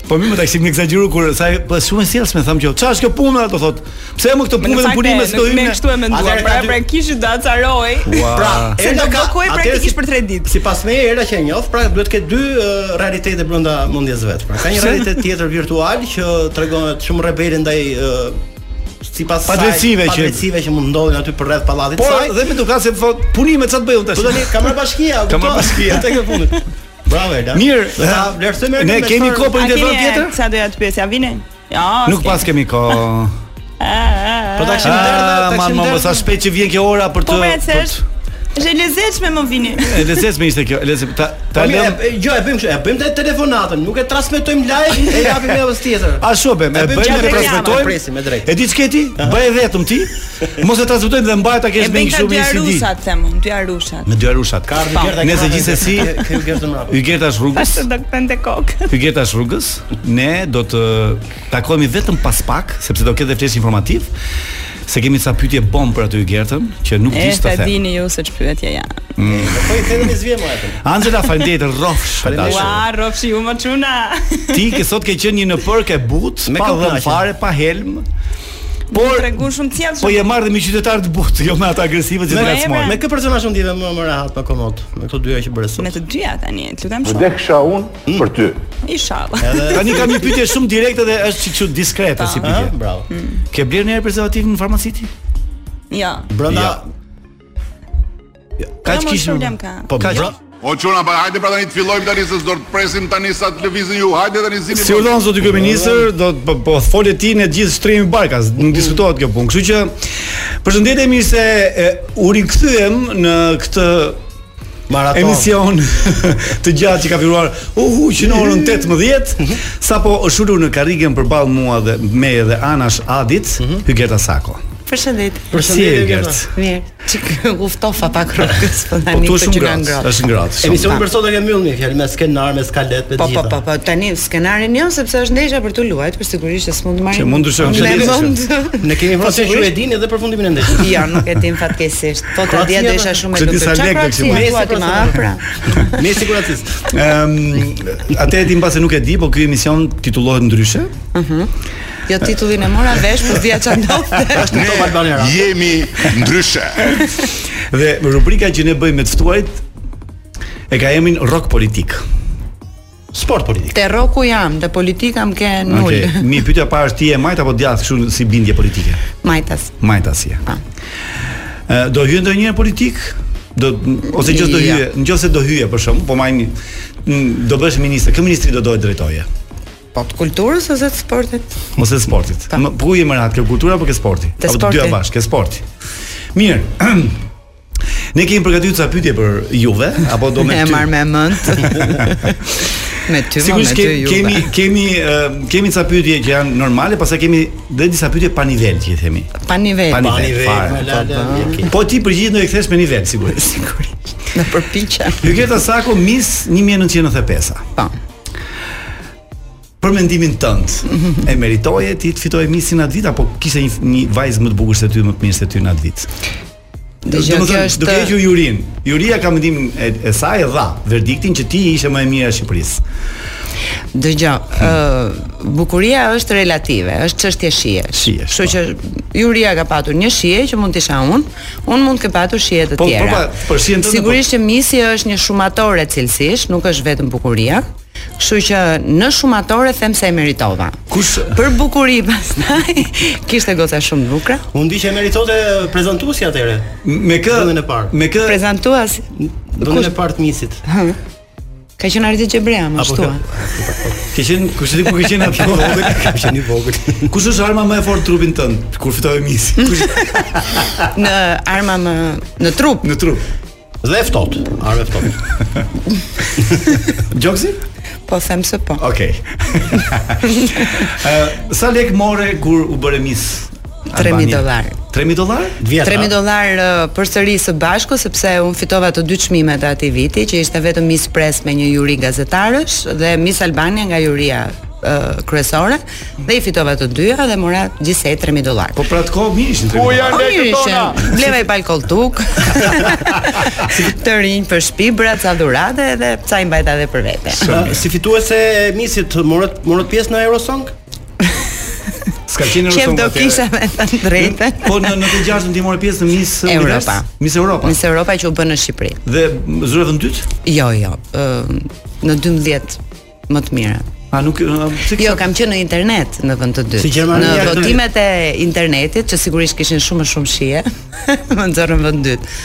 S7: po më më taksim në eksagjeru kur sa po shumë e sjellshme tham që çfarë është kjo punë do thot. Pse më këtë punë me punime se do
S10: hyjnë.
S7: hyjnë.
S10: Ne kështu e menduam.
S8: Atëherë
S10: Pra
S8: ka dy-
S10: pra kishit do acaroj.
S8: Pra,
S10: Se do blokoj praktikisht për 3 ditë.
S8: Sipas meje era që e njoh, pra duhet të ketë dy uh, realitete brenda mendjes vet. Pra ka një
S7: Pse?
S8: realitet tjetër virtual që tregon shumë rebele ndaj uh, sipas saj,
S7: Padrejtësive që-
S8: padrejtësive që mund ndodhin aty për rreth pallatit
S7: Po,
S8: të saj.
S7: dhe me edukat se thot punime çfarë të bëjun tash.
S8: Po tani ka marrë bashkia,
S7: Ka marrë bashkia.
S8: tek e fundit. Bravo Ela.
S7: Mirë,
S8: Do ta vlerësojmë
S7: ne
S8: me
S7: kemi
S8: çfarë-
S7: kohë për një telefon tjetër?
S10: Sa doja të pyes, ja vini? Jo.
S7: Nuk pas kemi kohë.
S8: Po ta kishim derdhë,
S7: Ah,
S8: ta
S7: ma
S8: kishim
S7: ma ma,
S8: derdhë.
S7: sa shpejt që vjen kjo ora për të.
S10: Po pra, se
S7: për
S10: është është e lezetshme më vini.
S7: të- E lezesme ishte kjo. Lezet ta ta
S8: Po mirë,
S7: lëm.
S8: e- e- jo, e bëjmë kështu, e bëjmë te telefonatën, nuk e transmetojmë live, e japim javës tjetër.
S7: A shobe, e
S8: bëjmë
S7: bëjmë
S8: gjatë
S7: dhe
S8: reklamave,
S7: transmetojmë.
S8: presim, e drejtë.
S7: E di çka ti? Bëj vetëm ti. Mos e transmetojmë dhe mbaj ta
S10: E
S7: kesh me
S10: bën
S7: një
S10: ka
S7: kështu
S10: dy
S7: me një CD.
S10: arushat them unë, dy arushat.
S7: Me dy arushat.
S8: Ka ardhur Gerda.
S7: Nëse
S8: Grave,
S7: gjithsesi,
S8: ke- ke u Gerda mbrapa.
S7: Ygerta është rrugës.
S10: Tash do të këthen te kokë.
S7: Pyetja është rrugës. Ne do të takohemi vetëm pas pak, sepse do ketë dhe flesh informativ. se kemi ca pyetje bomb për aty Gertën që nuk
S10: E,
S7: di
S10: ta
S7: të them.
S10: dini ju se ç'pyetje janë.
S7: Mm.
S8: Po i thënë me zvije më atë.
S7: Angela, faleminderit rrofsh.
S10: Ua, rrofshi ju më çuna.
S7: Ti ke sot ke qenë një në përk e but,
S10: Me
S7: pa
S10: kënaqe.
S7: dhënë fare, pa helm. Por
S10: tregun shumë thjesht.
S7: Po je marrë dhe me qytetar të but, jo me ata agresivë që
S8: Me-
S7: të smoj.
S8: Me kë personazh unë ndihem më më rahat pa komod, me këto dyja që bëre sot.
S10: Me të dyja tani, të lutem
S6: Po
S10: shumë.
S8: Vdekësha
S7: Hmm.
S8: unë për ty.
S10: Inshallah.
S7: Tani kam një pyetje shumë direkte dhe është çik çu diskrete si pyetje.
S8: Ah, bravo.
S7: Ke blerë një herë prezervativ në farmaci ti?
S10: Jo.
S8: Brenda
S7: Kaç
S10: Jo, mos
S7: kishim?
S10: problem ka.
S7: Po,
S6: Kaç?
S7: bra-
S6: O çuna, pa hajde pra tani të fillojmë tani se do të presim tani sa të lëvizin ju. Hajde tani zini.
S7: Si urdhon zoti kryeministër, do të po, po folet ti në gjithë shtrimin Barkas, nuk diskutohet kjo punë. Kështu që përshëndetje mirë se e, u rikthyem në këtë
S8: Maraton.
S7: Emision të gjatë që ka filluar u huq në orën 18 sapo është ulur në karrigen përballë mua dhe me dhe Anash Adit Hygerta Sako.
S12: Përshëndetje.
S7: Përshëndetje, Si e, Gerta? Gerta?
S12: Mirë. Çik u ftofa pak rrokës, po
S7: Po,
S12: tani
S7: tu është ngrohtë, është ngrohtë, shumë.
S8: Emisioni për sot e kemi mbyllni fjalë me skenar, me skalet, me të
S12: Po po
S8: gjitha.
S12: po po tani skenarin jo sepse është ndeshja për të luajtur, sigurisht që s'mund të marrim.
S8: Që mund ndryshojmë
S12: Ne
S8: çfarë
S12: mund.
S8: Ne kemi
S12: Po,
S8: vështirë ju
S12: sigurisht.
S8: e dini edhe për fundimin e ndeshjes.
S12: Jo, nuk e dim fatkeqësisht. Po ta dia do isha shumë e
S7: Kështë disa lekë kështu.
S12: Messi po ma pra.
S8: Me siguratisht.
S7: Ëm atë e di mbase nuk e di, po ky emision titullohet ndryshe.
S12: Mhm. Jo titullin e mora vesh, po por dia çfarë ndodhte.
S7: Ne
S6: Jemi ndryshe.
S7: Dhe rubrika që ne bëjmë me të ftuarit e ka emrin rock politik.
S8: Sport politik.
S12: Te roku jam, te politika më ke nul.
S7: Okej, mi pyetja para është ti je majt apo djathtë kështu si bindje politike?
S12: Majtas.
S7: Majta si je. Ë, Do hyj ndonjëherë politik? Do ose gjithë do
S12: Ja.
S7: hyje, nëse do hyje për shkakun, po majmë do bësh ministër, kë ministri do dohet drejtoje?
S12: Po të kulturës ose të sportit?
S7: Ose të sportit. Më- Po ku je më rahat, ke kultura apo ke sporti?
S12: Te
S7: Apo të dyja
S12: sporti.
S7: bashkë, ke sporti. Mirë. Ne kemi përgatitur ca pyetje për juve apo do Po, me
S12: E
S7: ty?
S12: marr me mend. me ty, ma, me
S7: Sigurisht
S12: ty
S7: kemi
S12: juve.
S7: kemi kemi ë, kemi ca pyetje që janë normale, pastaj kemi dhe disa pyetje pa nivel që i themi.
S12: Pa nivel.
S7: Pa nivel, fare. Po ti përgjigjesh do e kthesh me nivel sigurisht.
S12: sigurisht. Në përpiqem.
S7: Hyketa Sako Miss 1995-a.
S12: Po.
S7: Për mendimin tënd, e meritoje ti të fitoje Missin atë vit apo kishte një, një vajzë më të bukur se ty, më të mirë se ty në atë vit? Do-
S12: Dëgjoj,
S7: do më
S12: kjo
S7: thënë,
S12: është-
S7: Do të hequr jurin. Juria ka mendimin e, e saj e dha verdiktin që ti ishe më e mira e Shqipërisë.
S12: Dëgjoj, ë bukuria është relative, është çështje shije.
S7: Shije, po.
S12: Kështu që Juria ka patur një shije që mund të isha unë, unë mund të ke patur shije të
S7: Po, po,
S12: tjera.
S7: pa, po, shijen tënde, po.
S12: Sigurisht që misi është një shumatore cilësisht, nuk është vetëm bukuria. Kështu që në shumatore them se e meritova.
S7: Kush
S12: për bukuri pastaj kishte goca shumë të bukura.
S8: Unë di që e meritonte prezantuesi atëre.
S7: Me kë?
S8: Vendin e parë.
S7: Me kë?
S12: Prezantuas.
S8: Vendin e parë të misit.
S12: Hë. Ka qenë Ardi Xhebrea më
S8: Apo
S12: ashtu.
S8: ka-
S7: Ke qenë, kush e di ku ke qenë atë vogël? Ke qenë i vogël. Kush është arma më e fortë trupin tënd kur fitoi Missi? Kush
S12: Në arma më në trup.
S7: Në trup.
S8: Dhe e ftohtë, armë e ftohtë.
S7: Gjoksi?
S12: Po them se po.
S7: Okej. Ë, sa lek more kur u bëre Miss?
S12: 3000 dollar.
S7: 3000 dollar?
S12: 3000 dollar ë, përsëri së bashku sepse un fitova të dy çmimet e atij viti që ishte vetëm Miss Press me një juri gazetarësh dhe Miss Albania nga juria ë, kryesore dhe i fitova të dyja dhe mora gjithsej 3000 dollar.
S7: Po pra të kohë mirë ishin.
S12: Po mirë ishin. Bleva i pal koltuk. të rinj për shtëpi, bra ca dhurate dhe ca i mbajta edhe për vete.
S8: Ë, Si fituese e misit morët morët pjesë në Eurosong?
S7: S'ka qenë
S12: Qef do kisha me të drejtën.
S7: Po në në të gjashtën ti morë pjesë në Miss Univers?
S12: Europa.
S7: Miss Europa.
S12: Miss Europa që u bën në Shqipëri.
S7: Dhe zyreve në dytë?
S12: Jo, jo. Ë në 12 më të mira.
S7: A nuk pse
S12: Jo, kam qenë në internet në vend të dytë.
S7: Si Gjermania,
S12: në
S7: këtë-
S12: votimet e internetit, që sigurisht kishin shumë më shumë shije, më nxorën vend dytë.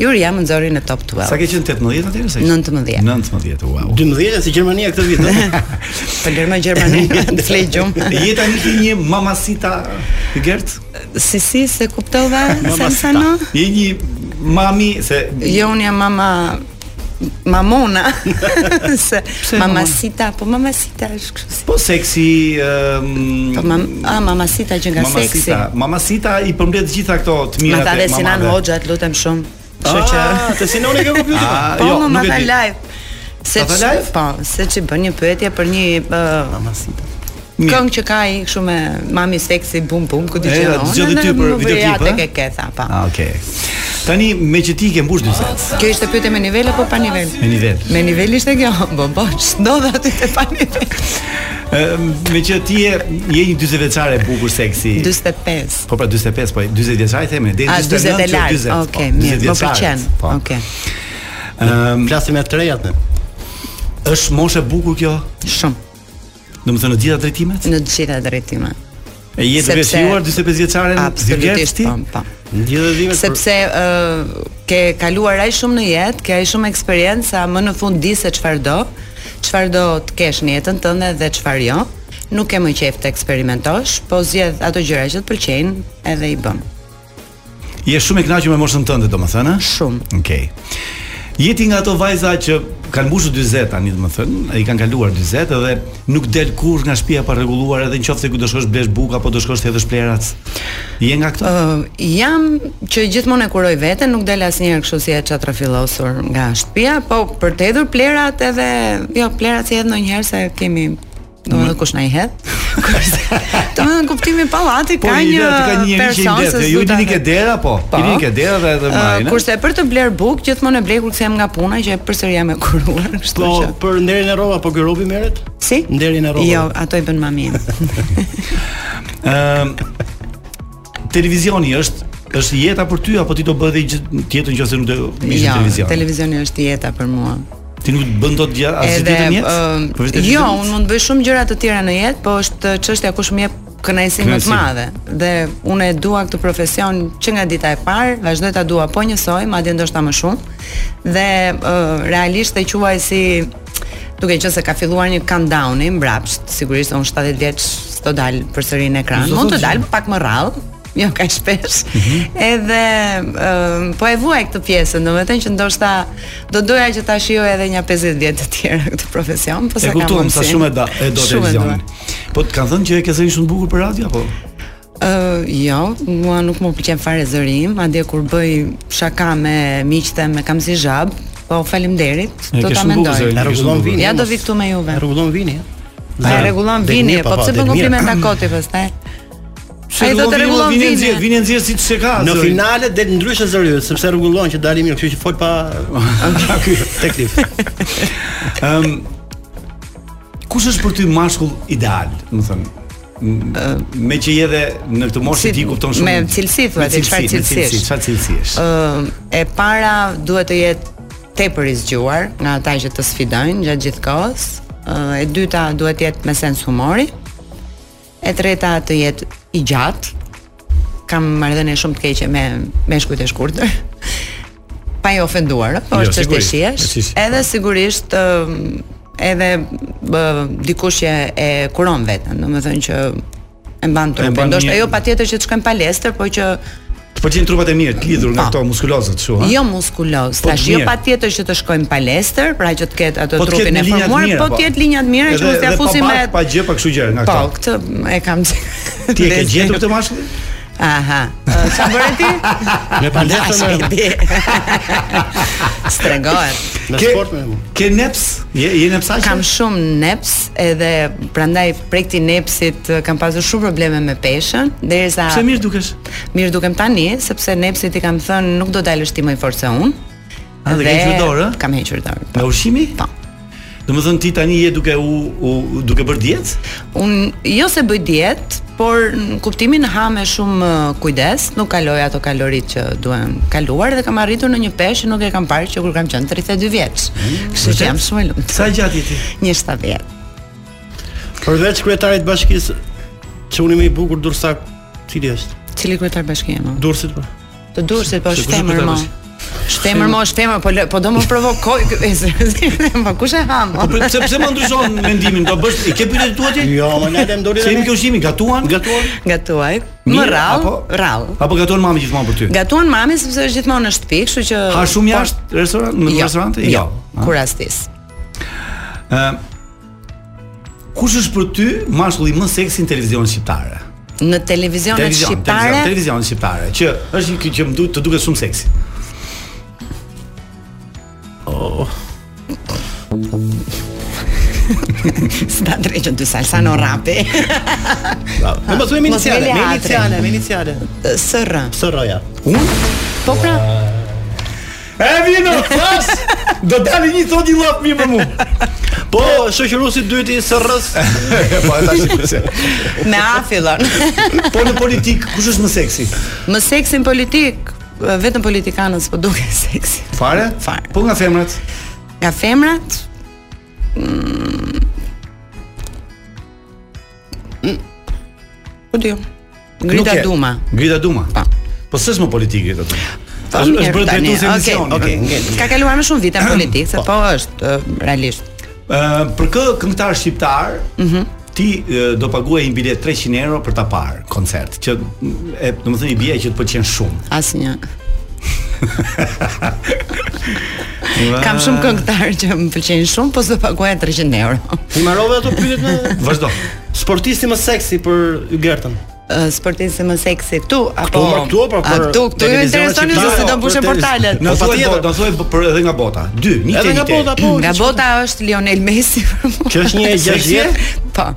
S12: Juri jam nxori në top 12.
S7: Sa ke qenë 18 atëherë sa?
S12: 19.
S7: 19, wow.
S8: 12 si Gjermania këtë vit, ëh.
S12: Falërma Gjermani, Po të flej gjumë.
S7: Jeta nuk i një mamasita Gert?
S12: Si si se kuptova Sensano?
S7: Je një mami se
S12: Jo, unë jam mama mamona. se mamasita, po mamasita është kështu. si-
S7: po seksi ëm
S12: Po mam, a mamasita që nga seksi.
S7: Mamasita, mamasita i përmblet gjitha këto të
S12: Ma
S7: mira
S12: tha dhe Sinan Hoxha, të lutem shumë. Kështu që
S8: Ah, te Sinoni ke kompjuter.
S7: Ah,
S12: Po,
S7: jo,
S12: më ma
S7: nuk e
S12: tha
S7: di.
S12: live. Se
S7: Ta tha
S12: që-
S7: live?
S12: Po, se që bën një pyetje për një uh,
S8: mamasita.
S12: Këngë që ka ai kështu me mami seksi bum bum ku jo.
S7: E,
S12: dëgjon.
S7: zgjodhi ty për videoklip,
S12: tek
S7: ha?
S12: e ke po. tha pa.
S7: Ah, okay. Tani me që ti ke mbush dy set.
S12: Kjo ishte pyetje me nivel apo pa nivel?
S7: Me nivel.
S12: Me nivel ishte kjo. Po po, ç'ndodha aty te pa nivel.
S7: Ë, Eh, me që ti je je një 40 vjeçare e bukur seksi.
S12: 45.
S7: Po pra 45, po 40 vjeçare i themi, deri
S12: A,
S7: 49,
S12: 40 e Ah, lartë,
S7: 40. po,
S12: okay, mirë,
S7: 40
S12: më
S7: vjeçare,
S12: pëlqen,
S7: Po.
S12: Okej.
S7: Ëm
S8: flasim me trejat ne.
S7: Është moshë e bukur kjo?
S12: Shumë.
S7: Domethënë në të gjitha drejtimet?
S12: Në të gjitha drejtimet.
S7: E je të
S12: Sepse-
S7: veshuar 45 vjeçare në
S12: Absolutisht,
S7: ti?
S12: po.
S8: Në gjithë dhimet.
S12: Sepse ë ke kaluar aq shumë në jetë, ke aq shumë eksperiencë sa më në fund di se çfarë do, çfarë do të kesh në jetën tënde dhe çfarë jo. Nuk ke më qejf të eksperimentosh, po zgjedh ato gjëra që të pëlqejnë edhe i bën.
S7: Je shumë e kënaqur me moshën tënde, domethënë, ëh?
S12: Shumë.
S7: Okej. Je ti nga ato vajza që kanë mbushur 40 tani, domethënë, i kanë kaluar 40 edhe nuk del kur nga shtëpia pa rregulluar, edhe nëse ku do shkosh blesh bukë apo do shkosh të hedhësh plerac. Je nga këto?
S12: Ë, jam që gjithmonë e kuroj veten, nuk del asnjëherë kështu si e çatrafillosur nga shtëpia, po për të hedhur plerat edhe jo, plerat si hedh ndonjëherë se kemi domethënë kush na i hedh. Kurse domethënë kuptimi i pallati
S7: Po,
S12: ka
S7: i
S12: një
S7: vetë, ka një njerëz që i
S12: person
S7: mbledh,
S12: se
S7: ju
S12: s'du ta
S7: dini ke
S12: hedh.
S7: dera, po.
S12: Po.
S7: Dini ke dera dhe edhe
S12: Ë,
S7: marrin. ëh?
S12: kurse për të bler buk gjithmonë e blej kur kthem nga puna që përsëri jam e kuruar, kështu
S8: Po
S12: që.
S8: për nderin e rroba, po ky robi merret?
S12: Si?
S8: Nderin e rroba.
S12: Jo, ato i bën mami im.
S7: Ëm televizioni është është jeta për ty apo ti do bëhet gjithë tjetër nëse nuk do mish
S12: Jo,
S7: televizion?
S12: televizioni është jeta për mua.
S7: Ti nuk bën dot gjë asgjë tjetër në jetë? Po
S12: ë,
S7: përveç
S12: jo,
S7: televizionit?
S12: unë mund të bëj shumë gjëra të tjera në jetë, po është çështja kush më jep kënaqësi më të
S7: Kënaqësi.
S12: madhe. Dhe unë e dua këtë profesion që nga dita e parë, vazhdoj ta dua po njësoj, madje ndoshta më shumë. Dhe ë, realisht e quaj si duke qenë se ka filluar një countdown i mbrapsht, sigurisht unë 70 vjeç s'do dal përsëri në ekran.
S13: Zdo
S12: Pra, Mund të
S13: thotë
S12: dal
S13: gjë.
S12: pak më rrallë, jo ka shpesh. Edhe ë, po e vuaj këtë pjesën, domethënë që ndoshta do doja që ta shijoj edhe një 50 vjet të tjera këtë profesion, po
S7: E
S12: sa kam.
S7: kuptuam sa
S12: mundësi.
S7: shumë e da, e do
S12: Shumë
S7: televizionin.
S12: dua.
S7: Po të kanë thënë që e ke zërin shumë të bukur për radio apo?
S12: Ë, jo, mua nuk më pëlqen fare zërim, madje kur bëj shaka me miqtë me kam si zhab, po faleminderit,
S8: E,
S12: do
S8: ke
S12: ta
S8: shumë bukur
S12: mendoj.
S8: zërin, E ke rregullon shumë bukur. vini,
S12: Ja do
S8: mos-
S12: vi këtu me juve.
S8: Rregullon vini.
S12: Pa e rregullon vini, po pse bën kompliment akoti pastaj? Ai do të rregullon vini.
S7: vini nxjerr siç se ka.
S8: Në
S7: zëri.
S8: finale del ndryshe zëri, sepse rregullon që dali mirë, kështu që fol pa
S7: Ka ky
S8: teklif.
S7: Ëm Kush është për ty mashkull ideal, më thënë? M- Me që je edhe në këtë moshë
S12: si-
S7: ti kupton shumë.
S12: me cilësi, thua, ti, çfarë
S7: cilësi, me
S12: cilësish?
S7: cilësi, Çfarë cilësish?
S12: Ë, e para duhet të jetë tepër i zgjuar nga ata që të sfidojnë gjatë gjithë kohës. Ë, e dyta duhet të jetë me sens humori. E treta të jetë i gjatë. Kam marrëdhënie shumë të keqe me meshkujt e shkurtër. Pa i ofenduar, po
S13: Jo,
S12: është çështë e
S13: sigurisht,
S12: shihesh.
S13: sigurisht.
S12: Edhe sigurisht ë, edhe bë, dikush që e kuron veten, domethënë që e
S7: mban
S12: mban trupin. Ndoshta
S7: një-
S12: jo patjetër që të shkojmë palestër, po që
S7: Të pëlqejnë trupat e mirë, të lidhur nga këto muskulozët kështu, ha?
S12: Ah. Jo muskuloz,
S7: Po,
S12: tash jo
S7: mirë.
S12: patjetër që të shkojmë palestër, pra që të ketë atë
S7: Po të ketë
S12: trupin
S7: me
S12: e
S7: linja të
S12: formuar,
S7: mira,
S12: po të jetë linja të mira që mos t'ia fusim me
S7: po pa gjë, pa kështu gjë nga
S12: Po,
S7: këto.
S12: këtë e kam.
S7: Ti e ke gjetur këtë mashkull?
S12: Aha. Ë, Çfarë bëre ti?
S7: Me
S12: Asha ide. Stregohet.
S8: Me sport me.
S7: Ke neps? Je je nepsaqe?
S12: Kam shumë neps edhe prandaj prej këtij nepsit eh, kam pasur shumë probleme me peshën derisa
S7: Pse mirë dukesh?
S12: Mirë dukem tani sepse nepsit i kam thënë nuk do dalësh ti më i fortë se unë.
S7: A, dhe ke hequr dorë, ë?
S12: Kam hequr dorë.
S7: Nga ushqimi?
S12: Po.
S7: Domethënë ti tani je duke u, u duke bërë dietë?
S12: Un jo se bëj dietë, por në kuptimin ha me shumë eh, kujdes, nuk kaloj ato kaloritë që duhen kaluar dhe kam arritur në një peshë që nuk e kam parë që kur kam qenë 32 vjeç.
S7: Mm,
S12: Kështu
S8: vërtet?
S12: që jam shumë e lumtur.
S7: Sa gjatë je ti?
S12: 170 vjet.
S8: Përveç kryetarit të bashkisë, që unë i më i bukur dursak, cili është?
S12: Cili kryetar bashkie më?
S8: Dursit po.
S12: Të dursit po
S8: Se kush e
S12: shtemër
S8: kujtoj
S12: më.
S8: tash?
S12: Shtemër më, shtemër, po lë- po do më provokoj ky e, seriozisht, po kush e ha më?
S7: Po pse pse më ndryshon mendimin? Do bësh i ke pyetur tua ti?
S8: Jo, më na lem doli
S7: Se
S8: dhe
S7: jemi
S8: ne.
S7: ke ushqimin, gatuan?
S8: Gatuan.
S12: Gatuaj. Më
S7: Mirë,
S12: rall,
S7: apo-
S12: rall.
S7: Apo gatuan mami gjithmonë për ty?
S12: Gatuan mami sepse është gjithmonë në shtëpi, kështu që
S7: Ha shumë
S12: po-
S7: jashtë restorant, në
S12: Jo,
S7: restorante?
S12: Jo.
S7: Ha?
S12: Kurastis.
S7: Ë Kush është për ty mashkulli më seksi në televizion shqiptare?
S12: Në televizionet shqiptare
S7: televizion, televizion shqiptare, që është një ky që më duhet të duket shumë seksi. Oh.
S12: S'ta dreqën dy salsa në rapi.
S8: Bravo. Ne pasojmë me
S12: Mos me
S8: iniciale, me
S12: leatre.
S8: iniciale, me iniciale.
S12: Sr.
S8: Sroja.
S12: Po pra,
S8: E vino, pas. Do dali një thot një llap mirë për mua. Po, shoqëruesi i dytë i Srrës.
S7: Po ata shikojse.
S12: me a fillon.
S7: Po në politik kush është më seksi?
S12: Më seksin politik, vetëm politikanët s'po duken seksi.
S7: Fare?
S12: Fare.
S7: Po nga femrat?
S12: Nga femrat? Mm. Mm. Po di. Grita
S7: Nuk e.
S12: Duma.
S7: Grita Duma. Po. Po s'është më politike ato. Është
S12: Po,
S7: është
S12: mirë,
S7: bërë
S12: tani,
S7: drejtuese
S12: okej,
S7: emisioni.
S12: okej, ngel. Ka kaluar më shumë vite në politikë, se po është ë, realisht.
S7: Ë për kë këngëtar shqiptar,
S12: Mhm.
S7: ti ë, do paguaj një bilet 300 euro për ta parë koncert, që e domethënë i bie që të pëlqen shumë.
S12: Asnjë. Kam
S7: Ah.
S12: shumë këngëtar që më pëlqejnë shumë, po s'do paguaj 300 euro.
S8: I marrove ato pyetjet me
S7: Vazhdo.
S8: Sportisti më seksi për Gertën.
S12: Ë, sportisti më seksi këtu
S8: Po,
S12: apo
S8: po, këtu
S7: pra,
S8: apo për
S12: A, këtu, këtu ju interesoni se se do mbushen portalet.
S7: Në thuaj po- do thuaj për edhe nga bota. Dy, një
S12: Edhe
S7: te
S12: nga
S7: një te.
S12: bota, po. Nga bota është Lionel Messi për mua.
S7: Që është një e gjashtë?
S12: Po.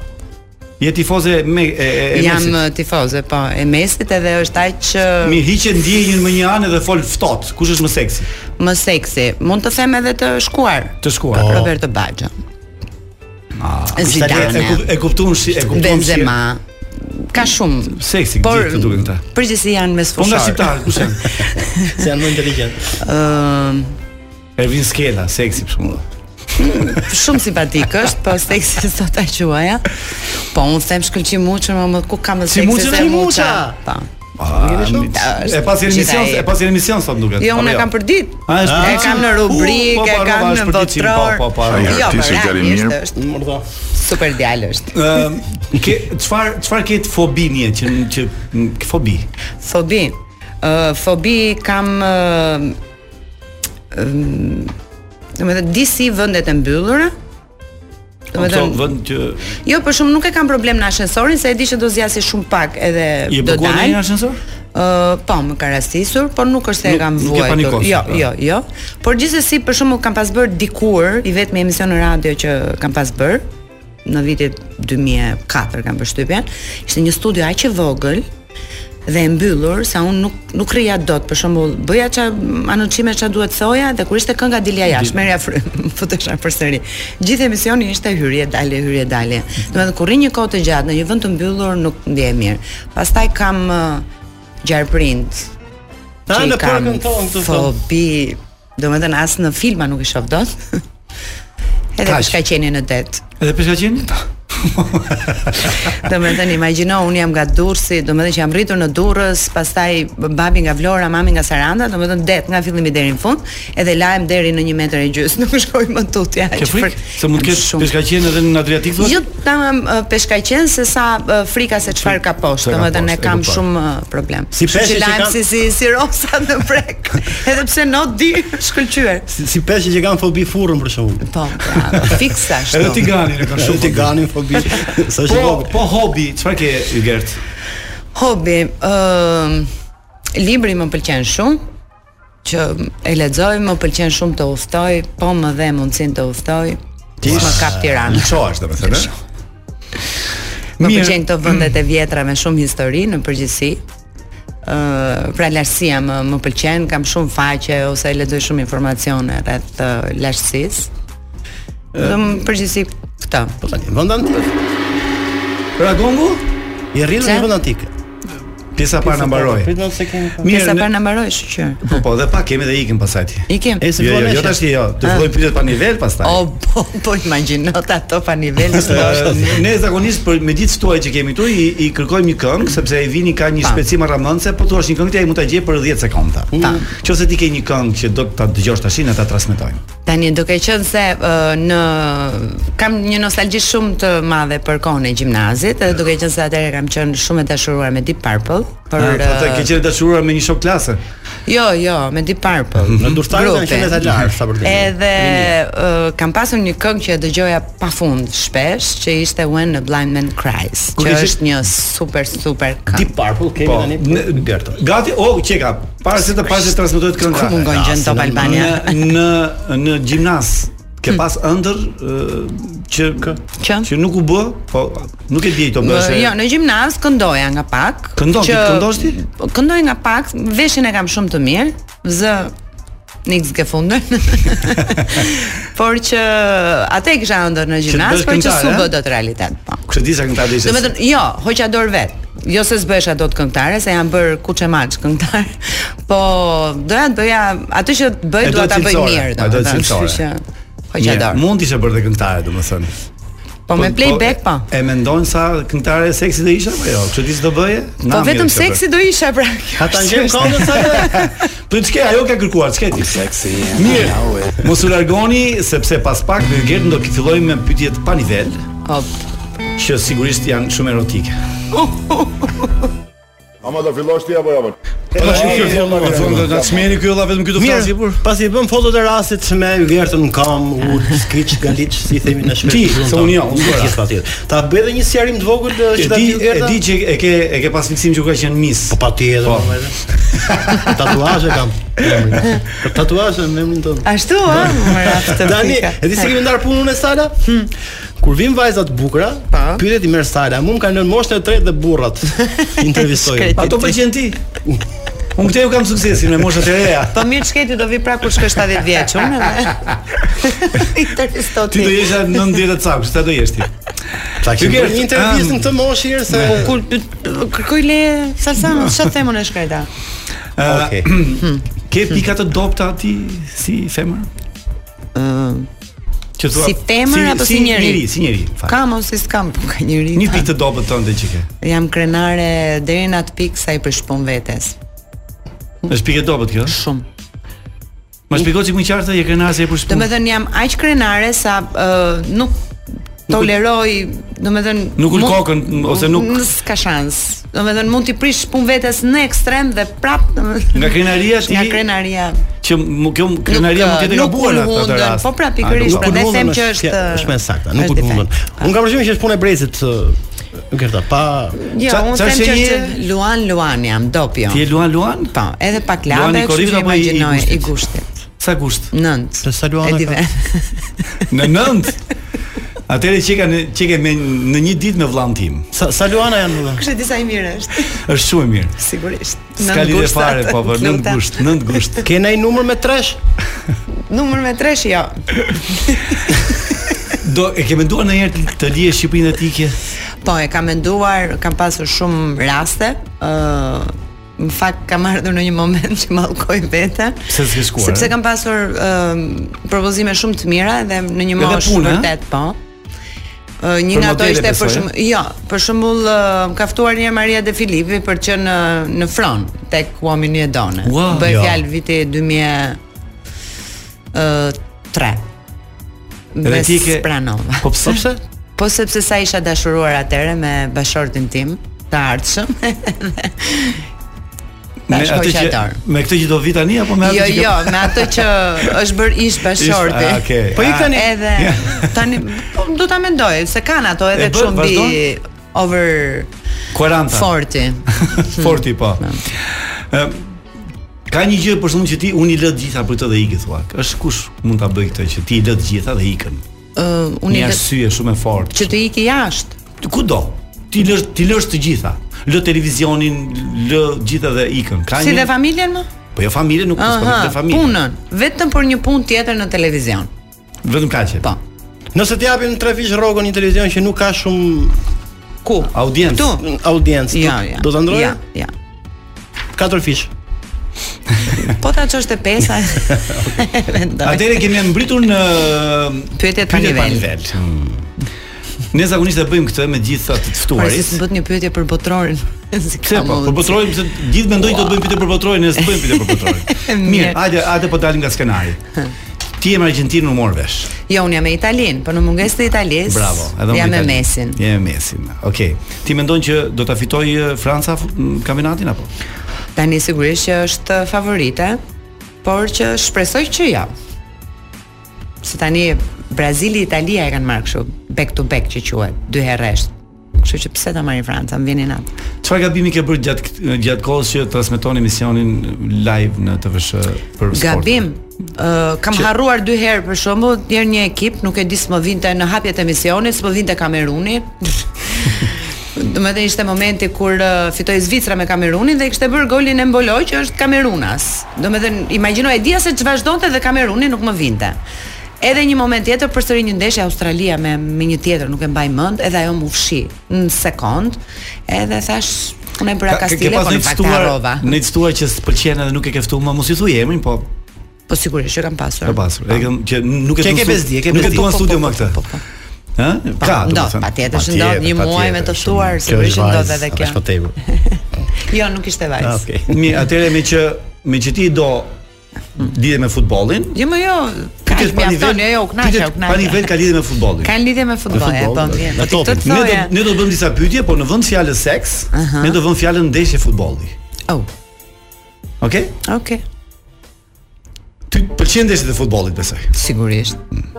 S7: Je tifoze me e, e, e
S12: Jam
S7: Mesit.
S12: eh, tifoze, po, e Mesit edhe është aq që
S7: Mi hiqet ndjenjën më një anë dhe fol ftoht. Kush është më seksi?
S12: më seksi. Mund të them edhe të shkuar.
S7: Të shkuar.
S12: Po. Roberto Baggio.
S7: Ah,
S12: Zidane.
S7: E, kup- e kuptuam si e kuptuam
S12: Benzema. Ka shumë
S7: Seksi,
S12: Por-
S7: gjithë të duken këta.
S12: përgjithësi janë mes
S7: Po
S12: fushor.
S7: nga shqiptar, kush janë?
S8: Se janë më inteligjent.
S12: Ëm
S7: Ervin Skela, seksi për shembull.
S12: shumë simpatik është, po seksi sot ta quaja. Po unë them shkëlqim muçën, më ku kam më seksi
S8: Muçën
S12: se
S8: e
S12: muça.
S8: Muça.
S12: Po.
S7: Ah,
S12: shumë?
S7: mi-
S12: Ta, është
S7: E pasi
S12: gjitha
S7: emision,
S12: e-
S7: e pasi emision sot duket.
S12: Jo, unë e
S7: apo
S12: kam për ditë.
S7: A, është për
S12: E
S7: ditë?
S12: kam në
S7: U, po,
S12: rubrikë, e
S7: po,
S12: kam
S7: po,
S12: në
S7: është për ditësim, po,
S12: botror.
S7: po, po,
S12: jo,
S7: po,
S12: jo,
S7: artisti
S12: po,
S7: djalë i
S12: realisht
S7: mirë.
S12: është super djalë është.
S7: Ëm, ke çfar çfarë ke të fobi nje që që ke fobi?
S12: Fobi. Ë fobi kam ë ëm, domethënë disi vendet e mbyllura.
S7: Ato
S12: Domethënë
S7: vend që
S12: Jo, për shumë nuk e kam problem në ascensorin, se e di që do zjasi shumë pak edhe
S7: Je
S12: do
S7: bllokuar
S12: dal.
S7: në një ascensor?
S12: Ë, po, më ka rastisur, por nuk është se e
S7: Nuk-
S12: kam
S7: nuk e
S12: vuajtur.
S7: panikosur,
S12: Jo,
S7: pra.
S12: jo, jo. Por gjithsesi për shembull kam pas bër dikur, i vetmi emision në radio që kam pas bër në vitit 2004 kam përshtypjen, ishte një studio aq i vogël dhe e mbyllur sa unë nuk nuk rija dot për shembull bëja ça anoncime ça duhet thoja dhe kur ishte kënga dilja jashtë merja frym futesha përsëri gjithë emisioni ishte hyrje dalje hyrje dalje domethënë kur rri një kohë të gjatë në një vend të mbyllur nuk ndiej mirë pastaj kam uh, gjarprind
S8: Ta,
S12: që i
S8: në
S12: kam
S8: parkën tonë, këtë thonë.
S12: fobi domethënë as në filma nuk i shoh dot edhe
S7: Kaq.
S12: peshka qeni në det
S7: Edhe peshka qeni?
S12: Do me thënë, imagino, unë jam nga Durrësi, do me thënë që jam rritur në Durrës, pastaj babi nga Vlora, mami nga Saranda, do me thënë det nga fillimi deri në fund, edhe lajm deri në një metër e gjys, nuk shkoj më tutje.
S7: Ke frikë? Se mund të kesh peshka qeni edhe në Adriatik thua?
S12: Jo tamam ë, peshkaqen se sa ë, frika se çfarë ka poshtë,
S7: Se ka
S12: domethënë
S7: poshtë,
S12: e
S7: e
S12: kam
S7: kuptoj.
S12: shumë ë, problem.
S8: Si
S12: Kështu
S8: peshqi që
S12: lajm
S8: kanë-
S12: si si si rosa në prek, edhe pse not di shkëlqyer.
S8: Si, si peshqi që kanë fobi furrën për shembull.
S12: Po, fiksa ashtu.
S7: Edhe tiganin e ka shumë.
S8: Edhe tiganin fobi. Sa është i
S7: Po,
S8: vogël.
S7: po hobi, çfarë ke Ygert?
S12: Hobi, ë libri më pëlqen shumë që e lexoj, më pëlqen shumë të udhtoj, po më dhe mundsinë të udhtoj. Ti më kap Tiranë.
S13: Lçohesh domethënë. ë?
S12: Më
S13: Mirë.
S12: pëlqen këto vendet e vjetra me shumë histori në përgjithësi. ë pra lartësia më më pëlqen, kam shumë faqe ose e lexoj shumë informacione rreth uh, lartësisë. Dhe më përgjithësi këto.
S8: Po tani, vend antik.
S7: Ragongu?
S8: I rritur
S12: Pse?
S8: në vend antik.
S7: Pjesa e parë na mbaroi.
S8: Pritëm se kemi. pa-
S7: Mirë,
S12: Pjesa
S7: ne-
S12: parë pra na mbaroj, kështu që.
S7: Po po, dhe pak kemi dhe ikim pasaj ti.
S12: Ikim.
S8: E, se
S7: Jo,
S8: fillon
S7: jo,
S8: e
S7: jo
S8: shef.
S7: tash jo, të
S12: Ah.
S7: fillojnë pyetjet pa nivel pastaj.
S12: O, po, po imagjino ta to pa nivel s'është.
S7: Ë, ne zakonisht për me ditë tuaj që kemi këtu i, i kërkojmë një këngë sepse ai vini ka një specim arramëndse, po thuash një këngë ti ai mund ta gjej për 10 sekonda. Nëse ti ke një këngë që do ta dëgjosh tashin, ne ta transmetojmë.
S12: Tani duke qenë se ë, në kam një nostalgji shumë të madhe për kohën e gjimnazit, edhe duke qenë se atëherë kam qenë shumë e dashuruar me Deep Purple, për
S8: Ah,
S12: eh,
S7: Për
S8: po,
S7: ata
S12: ë,
S7: që qenë dashuruar me një shok klase.
S12: Jo, jo, me Deep Purple.
S8: Në durtarët kanë qenë të lartë, sa për të qenë.
S12: Edhe uh, kam pasur një këngë që e dëgjoja pafund shpesh, që ishte When a Blind Man Cries,
S7: Kur
S12: që
S7: ishit-
S12: është një super super këngë.
S8: Deep Purple kemi
S7: Po,
S8: tani
S7: ne-
S8: për Gertën.
S7: Gati, o, çeka,
S8: Pra,
S7: para se të para se të transmetohet kënga.
S12: Ku mungon gjën Top Albania?
S7: Në në në gjimnaz
S12: Hmm.
S7: Ke pas ëndër ë, që që që nuk u bë, po nuk e di to
S12: Më,
S7: bësh.
S12: Jo, në gjimnaz këndoja nga pak. Po,
S7: Këndon, ti këndosh ti?
S12: Këndoj nga pak, veshin e kam shumë të mirë, zë Niks ke fundën. por që atë e kisha ëndër në
S7: të
S12: gjimnaz,
S7: bësh
S12: por që
S7: këngëtare,
S12: su
S7: a?
S12: bë dot realitet. Po.
S7: Kështë disa këngëtar do ishte.
S12: Do me thënë, jo, hoqa dorë vetë. Jo se s'bësha dot këngëtare, se jam bërë kuçe maç këngëtar. Po doja të bëja atë që të bëj
S7: E
S12: dua
S7: do
S12: ta bëj
S7: cilësore,
S12: mirë,
S7: e do
S12: domethënë.
S7: cilësore.
S12: Kështu që hoqa
S7: Mirë,
S12: dorë.
S7: Mund t'ishe bërë dhe këngëtare, domethënë.
S12: Po me playback, po.
S7: E mendon sa këngëtare seksi do isha apo jo? Çu di s'do bëje?
S12: Po vetëm seksi do isha pra.
S7: Ka ta ngjem këngën sa Po ç'ke ajo ka kërkuar, ç'ke ti? Seksi. Mirë. Mos u largoni sepse pas pak me Gertën do të fillojmë me pyetjet pa nivel.
S12: Hop.
S7: Që sigurisht janë shumë erotike.
S6: Ama do fillosh ti apo jo?
S7: Po tash kjo fillon nga
S8: Thonë
S7: nga çmeri ky vëlla vetëm ky do flasi
S8: Mirë, pasi i bëm fotot e rastit me Gertën kam u skriç galiç si i themi në shpejt.
S7: Ti, se unë jo, unë
S8: gjithë patjetër. Ta bëj edhe një sjarim të vogël eh,
S7: E
S8: që ta
S7: di,
S8: bëj
S7: e
S8: Gerta.
S7: di që e ke e ke pas fiksim që u ka qenë mis. Po
S8: patjetër. Tatuazhe kam. Tatuazhe në emrin tonë.
S12: Ashtu ë,
S8: Tani, e di se kemi ndar punën e Sala?
S7: Hmm.
S8: Kur vim vajzat të bukura, pyetet i merr Sala, mua më kanë lënë moshën e tretë dhe burrat. Intervistoj.
S12: Shkreti Ato ti. pëlqen
S7: po ti? Unë këtë ju kam suksesin me moshat e reja.
S12: Po mirë shketi do vi pra kur shkoj 70 vjeç unë. Interesot
S7: Ti do jesha 90 e cakë, sa do jesh ti? Ta Ah.
S8: Ti ke një intervistë në këtë moshë herë se
S12: Kur kërkoj le salsa, çfarë themën e shkreta?
S7: Okej. Ke pika të dobta ti si femër?
S12: Ëm
S7: Që thua-
S12: Si femër apo si njeri?
S7: njeri, si njeri. fal.
S12: Kam ose s'kam, po ka njëri.
S7: Një pikë të dobët tënde që ke.
S12: Jam krenare deri në atë pikë sa i përshpun vetes.
S7: Është pikë e dobët kjo?
S12: Shumë.
S7: Ma shpjegoj çik më qartë je krenarse e përshpun.
S12: Domethënë jam aq krenare sa ë, nuk toleroj, domethënë
S7: Nuk ul
S12: mund-
S7: kokën ose nuk
S12: s'ka shans. Domethënë mund t'i prish punë vetes në ekstrem dhe prap domethënë
S7: Nga krenaria ti-
S12: Nga krenaria.
S7: që mu- kjo krenaria mund të jetë e
S12: nuk
S7: gabuar në atë
S12: ulhundën,
S7: rast.
S12: po pra, pikërisht,
S7: nuk
S12: prandaj
S7: ulhundën
S12: them
S7: është-
S12: që është-
S7: fja-
S8: është më saktë,
S12: është
S8: nuk u
S12: defekt.
S8: mundon. Unë kam përshtypjen që është punë e brezit ë, Gerta, pa
S12: Jo,
S8: Qa-
S12: unë
S8: qa
S12: them
S8: është
S12: që
S8: një-
S12: është Luan Luan jam dop jo.
S7: Ti je Luan Luan?
S12: Po, edhe pak
S7: Luani
S12: labe, kështu
S7: Korifit apo i-
S12: që
S7: i
S12: imagjinoj i
S7: gushtit?
S12: gushtit.
S7: Sa gusht?
S12: 9.
S8: Se sa Luana
S12: E di
S8: ka.
S7: Në 9. Atëre që kanë që ke me në një ditë me vllan tim.
S8: Sa sa Luana janë vëlla?
S12: Kështë disa i mirë është.
S7: Është shumë e mirë.
S12: Sigurisht.
S7: Ska lidhje fare, po, po, nën gusht, nën gusht.
S8: Ke ndaj numër me tresh?
S12: Numër me tresh jo.
S7: Do e ke menduar ndonjëherë të- të lije Shqipërinë dhe ti ke?
S12: Po, e kam menduar, kam pasur shumë raste. ë në fakt kam ardhur në një moment që mallkoj veten.
S7: Pse s'ke shkuar, eh?
S12: Sepse
S7: e?
S12: kam pasur ë propozime shumë të mira dhe në një
S7: Edhe
S12: moshë
S7: punë, e?
S12: vërtet po. Ë një
S7: Për
S12: nga ato
S7: modele,
S12: ishte
S7: besoj, eh?
S12: për
S7: e?
S12: shumë, jo, për shembull ë, më ka ftuar një herë Maria De Filipi për të qenë në në Fron tek Uomini e Done.
S7: Ua,
S12: Bëj
S7: jo.
S12: fjalë viti 2000 ë 3.
S7: Edhe ti ke-
S12: pranova.
S7: Po pse? pse?
S12: Po sepse sa isha dashuruar atëre me bashortin tim të ardhshëm.
S7: Me
S12: Tash
S7: atë që
S12: hoqatar.
S7: me këtë që do vi tani apo me atë
S12: jo,
S7: që ke-
S12: jo, me atë që është bërë ish bashorti.
S7: Ish, a, okay.
S12: Po i
S7: Ah.
S12: tani edhe tani po do ta mendoj se kanë ato edhe
S7: E bën,
S12: çon mbi
S7: vazhdon?
S12: over
S7: 40.
S12: forti.
S7: Forti po. Ëm ka një gjë për shkakun që ti unë i lë të gjitha për këtë dhe iki thua. Është kush mund ta bëj këtë që ti i lë të gjitha dhe ikën?
S12: Ë unë
S7: Një
S12: i lë-
S7: arsye shumë e fortë.
S12: që të iki jashtë.
S7: Kudo. Ti lësh ti lësh të gjitha. Lë televizionin, lë gjitha dhe ikën. Ka
S12: Si
S7: një
S12: dhe familjen më?
S7: Po jo familje nuk është
S12: Aha,
S7: për familje.
S12: punën, vetëm për një punë tjetër në televizion.
S7: Vetëm kaqe.
S12: Po.
S8: Nëse të japim tre fish rrogën një televizion që nuk ka shumë
S12: ku
S7: audiencë,
S8: Këtu? audiencë.
S12: Ja,
S8: do-
S12: ja.
S8: Do ta ndroje?
S12: Ja, ja.
S8: Katër fish.
S12: Po ta çosh te pesa. Mendoj.
S7: Atëherë kemi mbritur në
S12: Pyetjet pa nivel.
S7: Hmm. Ne zakonisht e bëjmë këtë me gjithë atë të
S12: Por
S7: ftuarit.
S12: si bët një pyetje për botrorin. Si
S7: Pse po? Për botrorin se gjithë mendojnë do të bëjmë pyetje për botrorin, ne s'bëjmë pyetje për botrorin. Mirë,
S12: Mirë.
S7: hajde, hajde po dalim nga skenari. Ti je me Argentinë në mor vesh.
S12: Jo, unë jam me Italinë, po në mungesë të Italisë.
S7: Bravo.
S12: jam
S7: unë Itali.
S12: me Mesin.
S7: Je me Mesin. Okej. Ti mendon që do ta fitoj eh, Franca f- m, kampionatin apo?
S12: Tani sigurisht që është favorite, por që shpresoj që jo. Se tani Brazili Italia e kanë marrë kështu back to back që quhet, dy herë rresht. Kështu që pse ta marrin Franca, më vjen natë.
S7: Çfarë gabimi ke bërë gjatë kët- gjatë kohës që transmeton emisionin live në TVSH për sport?
S12: Gabim. Uh, kam
S7: Që-
S12: harruar dy herë për shembull, një herë një ekip, nuk e di s'më vinte në hapjet e misionit, s'më vinte Kameruni. Do më thënë ishte momenti kur uh, fitoi Zvicra me Kamerunin dhe i kishte bërë golin e Mbolo që është Kamerunas. Do më thënë imagjino e dia se ç'vazhdonte dhe Kameruni nuk më vinte. Edhe një moment tjetër përsëri një ndeshje Australia me me një tjetër, nuk e mbaj mend, edhe ajo më ufshi në sekond. Edhe thash unë e bëra Kastile, po në fakt e harrova.
S7: në të ftuar që s'pëlqen edhe nuk e ke ftuar, më mos i thuaj emrin, po
S12: Po sigurisht që kam pasur.
S7: Ka pasur. E kam që nuk e
S12: Që e
S7: duan
S12: ke
S7: stu-
S12: bezdi, e ke
S7: Nuk e
S12: bezdi.
S7: duan
S12: Po,
S7: studio
S12: po,
S7: më këtë. Ë?
S12: Pa,
S7: Ka, do
S12: ndodh,
S7: të thënë.
S12: patjetër që ndodh një muaj me të ftuar, sigurisht që ndodh edhe
S7: po
S12: kjo. Jo, nuk ishte
S7: Ah,
S12: vajzë.
S7: Mirë, atëherë me që me që ti do lidhe me futbollin,
S12: Jo, më jo, kaq
S7: Pyetjet pa
S12: mjafton,
S7: nivel-
S12: jo, jo, u
S7: pyetjet
S12: kënaqja, u
S7: Pa nivel ka
S12: kënaqja.
S7: lidhje me futbollin.
S12: Kanë lidhje me futbollin,
S7: Me
S12: po mirë. Po ti
S7: Topin.
S12: këtë
S7: Ne do
S12: thoje.
S7: ne do bëm disa pyetje, po në vend fjalës seks,
S12: Aha.
S7: ne do vëm fjalën ndeshje futbolli.
S12: Oh.
S7: Okej?
S12: Okej.
S7: Ty pëlqen ndeshjet e futbollit, besoj.
S12: Sigurisht.
S7: Mm.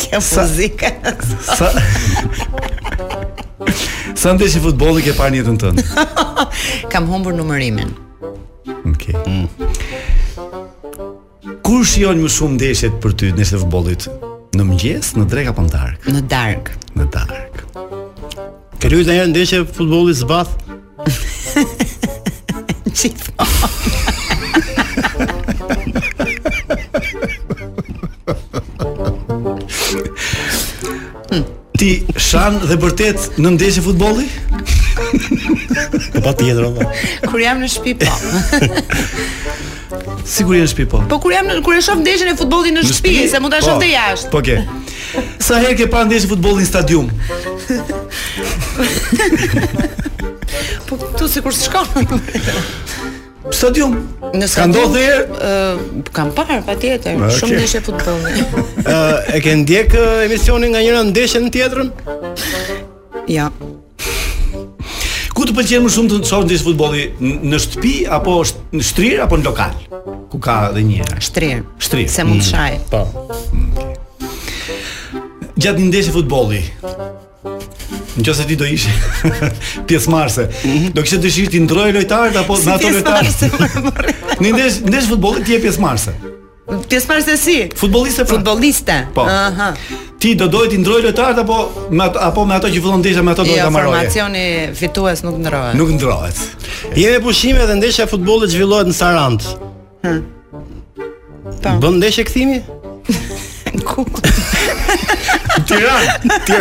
S12: Kjo muzikë.
S7: Sa Sa ndeshje futbolli ke parë në jetën tënde?
S12: Kam humbur numërimin.
S7: Okej. Kur shijon më shumë ndeshjet për ty, ndeshjet e futbollit? Në mëngjes, në drek apo në darkë?
S12: Në darkë.
S7: Në darkë.
S8: Ke luajtur ndonjëherë ndeshje futbolli zbath?
S7: Ti shan dhe vërtet në ndeshje futbolli?
S8: Po patjetër valla.
S12: Kur jam në shtëpi po.
S7: Sigur je në shtëpi po.
S12: Po kur jam në, kur e shoh ndeshjen e futbollit në shtëpi, se mund ta shoh
S7: Po,
S12: te jashtë.
S7: Po ke. Sa herë ke parë ndeshje futbolli në stadium?
S12: Po këtu sikur s'shkon.
S7: Stadium.
S12: Në
S8: Ka ndodhur
S7: herë?
S12: Ë, kam parë patjetër,
S8: Ah,
S12: shumë
S8: okay.
S12: ndeshje futbolli.
S8: Ë, e ke ndjek ë, emisionin nga njëra ndeshje në tjetrën?
S12: Ja.
S7: Ku të pëlqen më shumë të shohësh ndeshje futbolli? N- Në shtëpi apo sht- në shtrirë apo në lokal? Ku ka edhe një herë?
S12: Shtrirë.
S7: Shtrirë.
S12: Se mund
S7: Mm.
S12: të shaj.
S8: Po.
S7: Gjatë një ndeshje futbolli. Në qëse ti do ishe pjesëmarrëse, do kishe dëshirë ti ndroje lojtarët apo
S12: Mhm. Si
S7: në ato
S12: pjesëmarrëse,
S7: lojtarë? Në ndesh ndesh futbolli ti je pjesëmarrëse.
S12: Pjesëmarrëse si?
S7: Futbolliste pra.
S12: Futbolliste.
S7: Po.
S12: Aha.
S7: Ti do doje ti ndroje lojtarët apo me ato, apo me ato që fillon ndeshja me ato do
S12: Jo,
S7: ta mbaroje?
S12: formacioni fitues nuk ndrohet.
S7: Nuk ndrohet.
S8: Jemi pushime dhe ndeshja e futbollit zhvillohet në Sarand.
S12: Hm. Po.
S8: Bën ndeshje kthimi?
S12: Ku?
S8: Tiranë.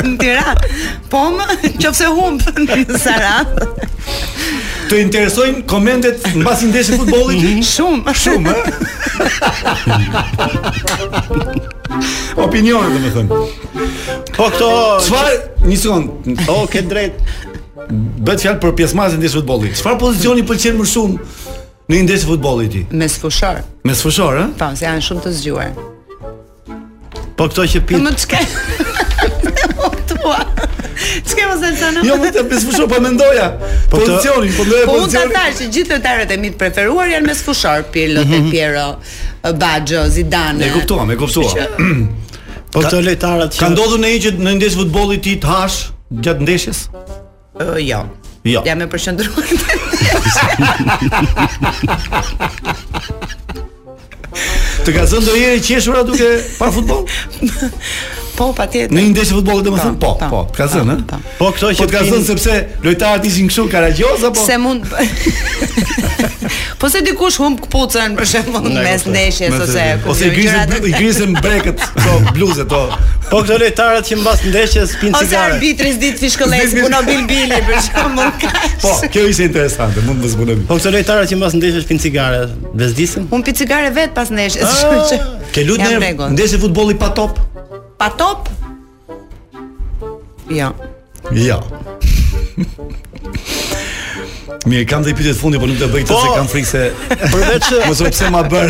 S12: Në Tiranë. Po më, qofse humb në Saran.
S7: Të interesojnë komentet mbas një ndeshje
S12: Mhm.
S7: futbolli?
S12: Shumë,
S7: shumë, ë? Opinione domethënë.
S8: Po këto
S7: çfarë, një sekond.
S8: O, ke drejt.
S7: Bëhet fjalë për pjesëmarrësin e ndeshjes futbolli. Çfarë pozicioni pëlqen më shumë në një ndeshje futbolli ti?
S12: Me sfushor.
S7: Me sfushor, ë?
S12: Po, se janë shumë të zgjuar.
S8: Po këto që
S12: Po më çka? Tua. Çka mos e thonë?
S7: Jo, më të me sfushor po mendoja.
S8: Po të-
S7: Pozicionin, po mendoja
S12: Po unë ta
S7: pozicionin.
S12: thash që gjithë lojtarët e mi të preferuar janë me sfushor, Pirlo, Del Piero, Baggio, Zidane.
S7: E kuptuam, e kuptuam.
S8: Po këto lojtarët që
S7: Ka ndodhur ndonjë që në ndeshje futbolli ti të hash gjatë ndeshjes?
S12: Ë, jo.
S7: Jo.
S12: Jam e përqendruar.
S7: Të ka zënë ndonjëherë qeshura duke pa futboll?
S12: Po, patjetër.
S7: Në një ndeshje futbolli domethënë? Po, po, të ka zënë, ë?
S8: Po këto
S7: Po
S8: që
S7: të ka zënë sepse lojtarët ishin kështu karagjoz apo?
S12: Se mund Po se dikush humb kputucën për shembull
S7: Ne
S12: mes
S7: kuptoj.
S12: ndeshjes
S7: Mes-
S12: ose
S7: ose i grisen
S12: gjërat-
S7: i grisen breket, to bluzet to.
S8: Po këto lojtarët që mbas ndeshjes pinë
S12: Ose
S8: cigare.
S12: arbitri zdit fishkollës
S8: Zdit fish-
S12: puno bilbili për shembull. kaq.
S7: Po, kjo ishte interesante, mund të zbulojmë.
S8: Po këto lojtarët që mbas ndeshjes pinë cigare, vezdisin?
S12: Un pi cigare vet pas ndeshjes,
S8: Ah,
S12: kështu që
S7: Ke lut
S12: jam
S7: në
S12: rregull.
S7: ndeshje futbolli pa top?
S12: pa top? Jo.
S7: Jo. Mirë, kam dhe i pyetjet fundi, por nuk do bëj këtë
S8: Po,
S7: se kam frikë se
S8: përveç
S7: mos e pse ma bër.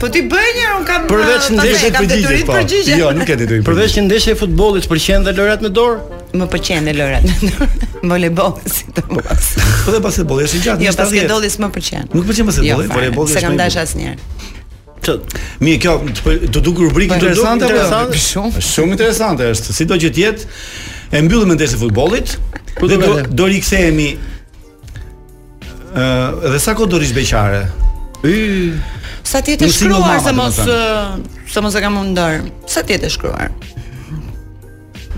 S12: Po ti bëj një un kam
S8: Përveç
S12: uh,
S8: ndeshjes
S12: kam
S8: përgjigje,
S12: detyrit përgjigje.
S7: Po. Jo, e detyrim.
S8: Përveç që ndeshje e futbollit pëlqen dhe lojrat me dorë?
S12: Më pëlqen dhe lojrat. Voleybol sidomos.
S7: Po dhe basketbolli është i gjatë.
S12: Jo,
S7: në 70.
S12: basketbolli s'më pëlqen.
S7: Nuk pëlqen basketbolli,
S12: Jo, fare,
S7: voleybolli
S12: Se
S7: është
S12: kam
S7: më i
S12: dash
S7: bukur.
S12: asnjëherë.
S7: Mirë, kjo të pël- të duk rubrikë
S12: Po, të duk
S7: interesante apo
S12: interesante.
S7: Shumë. Shumë interesante është, sido që të jetë. E mbyllim me ndeshjen e futbollit. Dhe do, do rikthehemi ë dhe sa kohë do rish beqare. Ë
S12: Sa ti të
S7: Në single
S12: shkruar
S7: mama,
S12: se
S7: do
S12: mos
S7: të
S12: ë, se mos e kam unë në dorë. Sa ti të shkruar?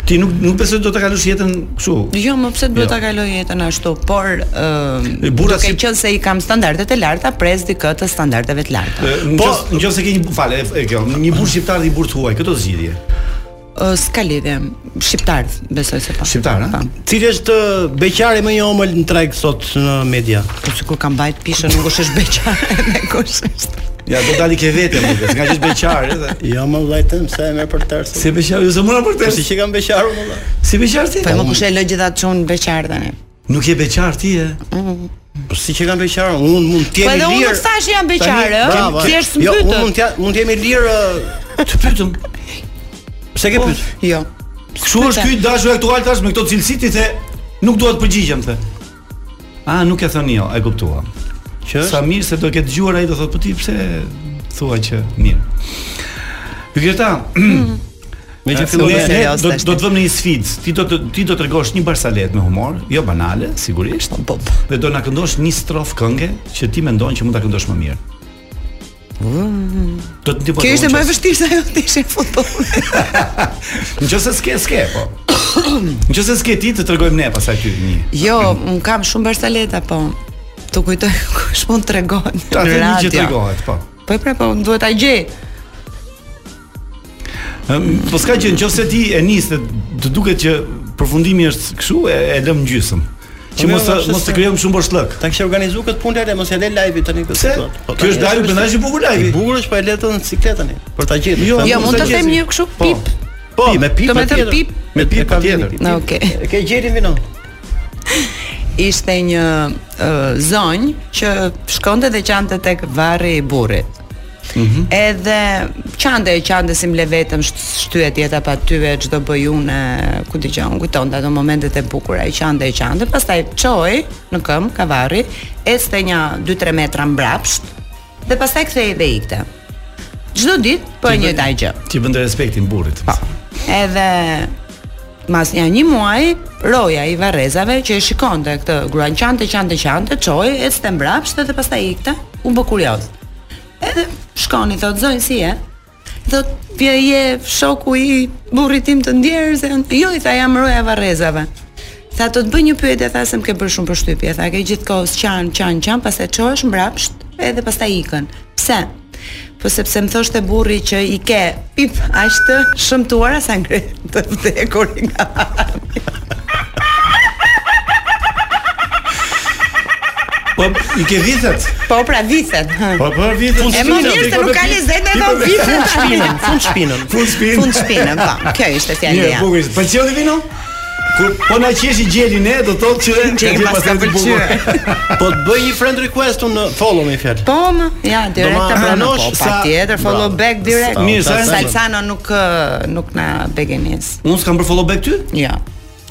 S7: ti nuk nuk besoj do ta kalosh jetën kështu.
S12: Jo, më pse duhet
S7: Jo.
S12: ta kaloj jetën ashtu, por ë
S7: E, burra
S12: duke qenë se i kam standardet e larta, pres dikë të standardeve të larta.
S7: Po, nëse ke një falë, e kjo, një burr shqiptar dhe një burr huaj, këto zgjidhje.
S12: Ë, s'ka lidhje. Shqiptar, besoj se po. pa.
S7: Shqiptar, ha?
S8: Cili është ë, beqari më i omël në treg sot në media?
S12: Po sikur ka mbajt pishën, nuk është beqare, ne kush është.
S7: Ja, do dali ke vete më, nga që është beqare dhe.
S8: Jo, më vllajtëm se e merr për tërë.
S7: Si beqare, ju zëmura për tërë.
S8: Si që kam beqaru më vëlla.
S7: Si beqar ti?
S12: Po më kush e lë gjithatë çun beqar tani.
S7: Nuk je beqar ti e?
S8: Po si që kam beqaru, unë mund të
S12: Po
S8: jemi lirë.
S12: edhe unë nuk thash jam beqare, ë?
S8: bravo,
S12: Thjesht
S8: Jo,
S12: mbytët.
S8: unë mund të mund të jemi lirë. ë,
S7: Të pyetëm. Po,
S8: Pse ke pyet?
S12: Jo.
S7: Kështu është ky dashur aktual tash me këto cilësi ti the, nuk dua të përgjigjem the. A nuk e thon jo, e kuptuam.
S8: Që
S7: sa mirë se do ketë dëgjuar ai do thotë po ti pse thua që mirë. Hygjeta.
S8: Me që
S7: Ne-
S8: fillon
S7: ne-
S8: me serios
S7: do
S8: tash
S7: do të vëmë në një sfid. Ti do të ti do të tregosh një barsalet me humor, jo banale, sigurisht. Po. Dhe do na këndosh një strofë këngë që ti mendon që mund ta këndosh më mirë.
S8: Mm.
S7: Do të ndihmoj.
S12: Kjo ishte më e vështirë se ajo të ishte në futboll.
S7: Nëse s'ke, s'ke, po. Nëse s'ke ti të tregojmë ne pasaj ty një.
S12: Jo, un kam shumë barsaleta, po. Të kujtoj kush mund tregon.
S7: Ta të
S12: në
S7: një që
S12: radio.
S7: tregohet, po.
S12: Po e pra, po unë duhet ta gjej.
S7: Ëm, Po s'ka gjë, nëse ti e nis dhe të duket që përfundimi është kështu, e, e lëm gjysmë. Që
S8: Po,
S7: mos
S8: mirë,
S7: të- mos të krijojmë shumë boshllëk.
S8: Ta kishe organizuar këtë punë lale, mos ja le live tani këtë
S7: Pse?
S8: situatë. Po,
S7: Ky
S8: tani
S7: është live,
S8: është-
S7: bëndash i bukur live.
S8: I bukur është, po e le të në ciklet tani, për ta gjetur.
S7: Jo,
S12: Jo, mund të them një kështu pip.
S8: Po, me pip.
S12: Do me thënë
S8: patjetër.
S12: pip?
S8: Me pip patjetër.
S12: Na, okay.
S8: E Ke gjerin vino.
S12: Ishte një uh, zonjë që shkonte dhe qante tek varri i burrit. Edhe qande e qande si mble vetëm sht- shtyhet jeta pa tyve çdo bëj unë ku dëgjon kujton ato momentet e bukura e qande e qande pastaj çoi në këmbë kavarri ecte një 2-3 metra mbrapsht dhe pastaj kthehej dhe ikte çdo ditë po e njëjta gjë
S7: Ti bën respektin burrit. Po.
S12: Edhe mas një një muaj, roja i varrezave që e shikonte këtë gruan qante, qante, qante, çoi, ecte mbrapsht dhe pastaj ikte, u bë kurioz. Edhe shkoni thot zonjë si je? Thot "Pje je shoku i burrit tim të ndjerë se unë- jo i tha jam roja e varrezave. Tha do të bëj një pyetje, tha se më ke bërë shumë përshtypje. Tha ke gjithkohës qan, qan, qan, pastaj çohesh mbrapsht, edhe pastaj ikën. Pse? Po sepse më thoshte burri që i ke pip aq të shëmtuara sa ngre të vdekur nga.
S7: Po i ke vithet.
S12: Po pra vithet. hë.
S7: Po po vithet.
S12: E më mirë se nuk ka lezet e do vithet.
S8: Fund shpinën, fund shpinën.
S7: po- Fund shpinën.
S12: Fund shpinën, po. Kjo ishte fjala
S7: Mirë,
S12: ime.
S7: bukur. ishte. Pëlqeu ti vino? Kur po na qeshi gjelin ne, do të thotë që
S12: Që i pas ka pëlqyer.
S8: Po të bëj një friend request unë follow me fjalë.
S12: Po, më, ja, direkt
S8: ma-
S12: ta pranosh
S8: Po,
S12: sa patjetër
S8: bravo.
S12: follow back direkt.
S8: Sa- Mirë, sa-
S12: Salsano nuk ë, nuk na begenis.
S7: Unë s'kam bërë follow back ty?
S12: Jo.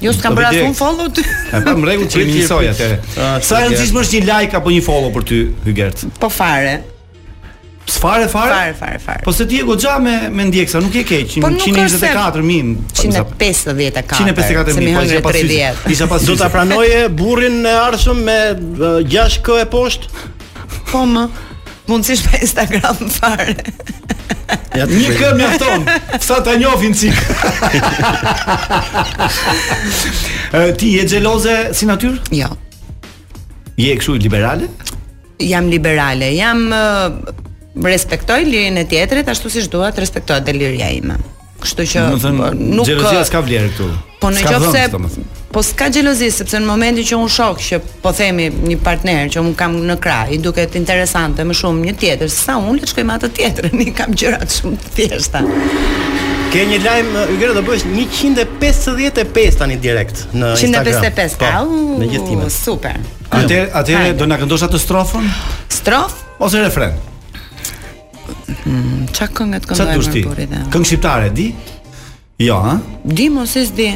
S12: Jo s'kam
S7: Do
S12: bërë
S7: vdek.
S12: asnjë follow ty.
S7: E pa në rregull që jemi
S8: Prit,
S7: njësoj
S8: prit.
S7: atëre.
S8: Ah,
S7: Sa e
S8: prit,
S7: rëndësishme është një like apo një follow për ty, Hygert?
S12: Po fare.
S7: S'fare fare?
S12: Fare, fare, fare.
S7: Po se ti e goxha me me ndjeksa, nuk je keq.
S12: Po nuk është se-
S7: 124.000.
S12: 154.
S7: 154.000,
S12: Se mi
S7: po isha
S12: hëngre
S7: pas syze.
S12: 30.
S7: Isha pas
S8: Do ta
S7: syze.
S8: pranoje burrin e arshëm me 6 kë e poshtë.
S12: Po më mundësisht pa Instagram fare.
S8: Ja të
S7: Një
S8: bëj.
S7: kë mjafton. Sa ta njohin sik. Ë, ti je xheloze si natyrë?
S12: Jo.
S7: Je kështu liberale?
S12: Jam liberale, jam ë, respektoj lirin e tjetrit ashtu siç dua të respektohet dhe liria ime. Kështu që
S7: Do të thënë,
S12: po, nuk
S7: xhelozia s'ka vlerë këtu.
S12: Po në
S7: S'ka
S12: qoftë
S7: vend,
S12: se
S7: domethënë.
S12: po s'ka xhelozi sepse në momentin që unë shoh që po themi një partner që unë kam në krah, i duket interesante më shumë një tjetër se sa unë le të shkoj me atë tjetrën, i kam gjërat shumë të thjeshta.
S7: Po,
S8: Ke një lajm Ygre do bësh 155 tani direkt në Instagram.
S12: 155.
S8: Po,
S12: Au,
S8: me gjithë timin.
S12: Super.
S7: Atëherë, atëherë do na këndosh atë strofën
S12: Strof?
S7: ose refren?
S12: Çka këngë të
S7: Sa
S12: këndoj
S7: dush
S12: më
S7: ti?
S12: burri dhe?
S7: Këngë shqiptare, di? Jo, ha?
S12: Di mos e s'di.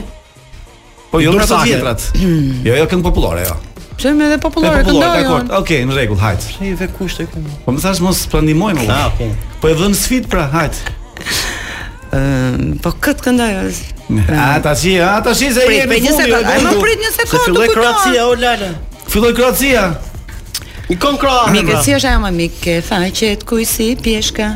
S7: Po jo
S8: Dur
S7: nga të
S8: sake.
S7: vjetrat. Jo, jo këngë popullore, jo.
S12: Pse më edhe
S7: E
S12: popullore
S7: popullore,
S12: këndoj
S7: dakord.
S12: unë.
S7: Okej, në rregull, hajt.
S8: Ai ve kushte këtu.
S7: Po më thash mos prandimoj
S12: Po,
S7: më.
S8: Ah, okay.
S7: Po e vën sfit pra, hajt.
S12: Ëm, Po këtë këndoj. unë.
S7: A tash, a tash se
S12: Prit,
S7: jemi
S12: prit një sekond, a më prit një sekond, Se filloi të kujtoj. Kroacia,
S8: o Lala.
S7: Filloi Kroacia.
S8: Ikon Kroacia.
S12: Mikësi është ajo më mikë, faqet kuj si pjeshka.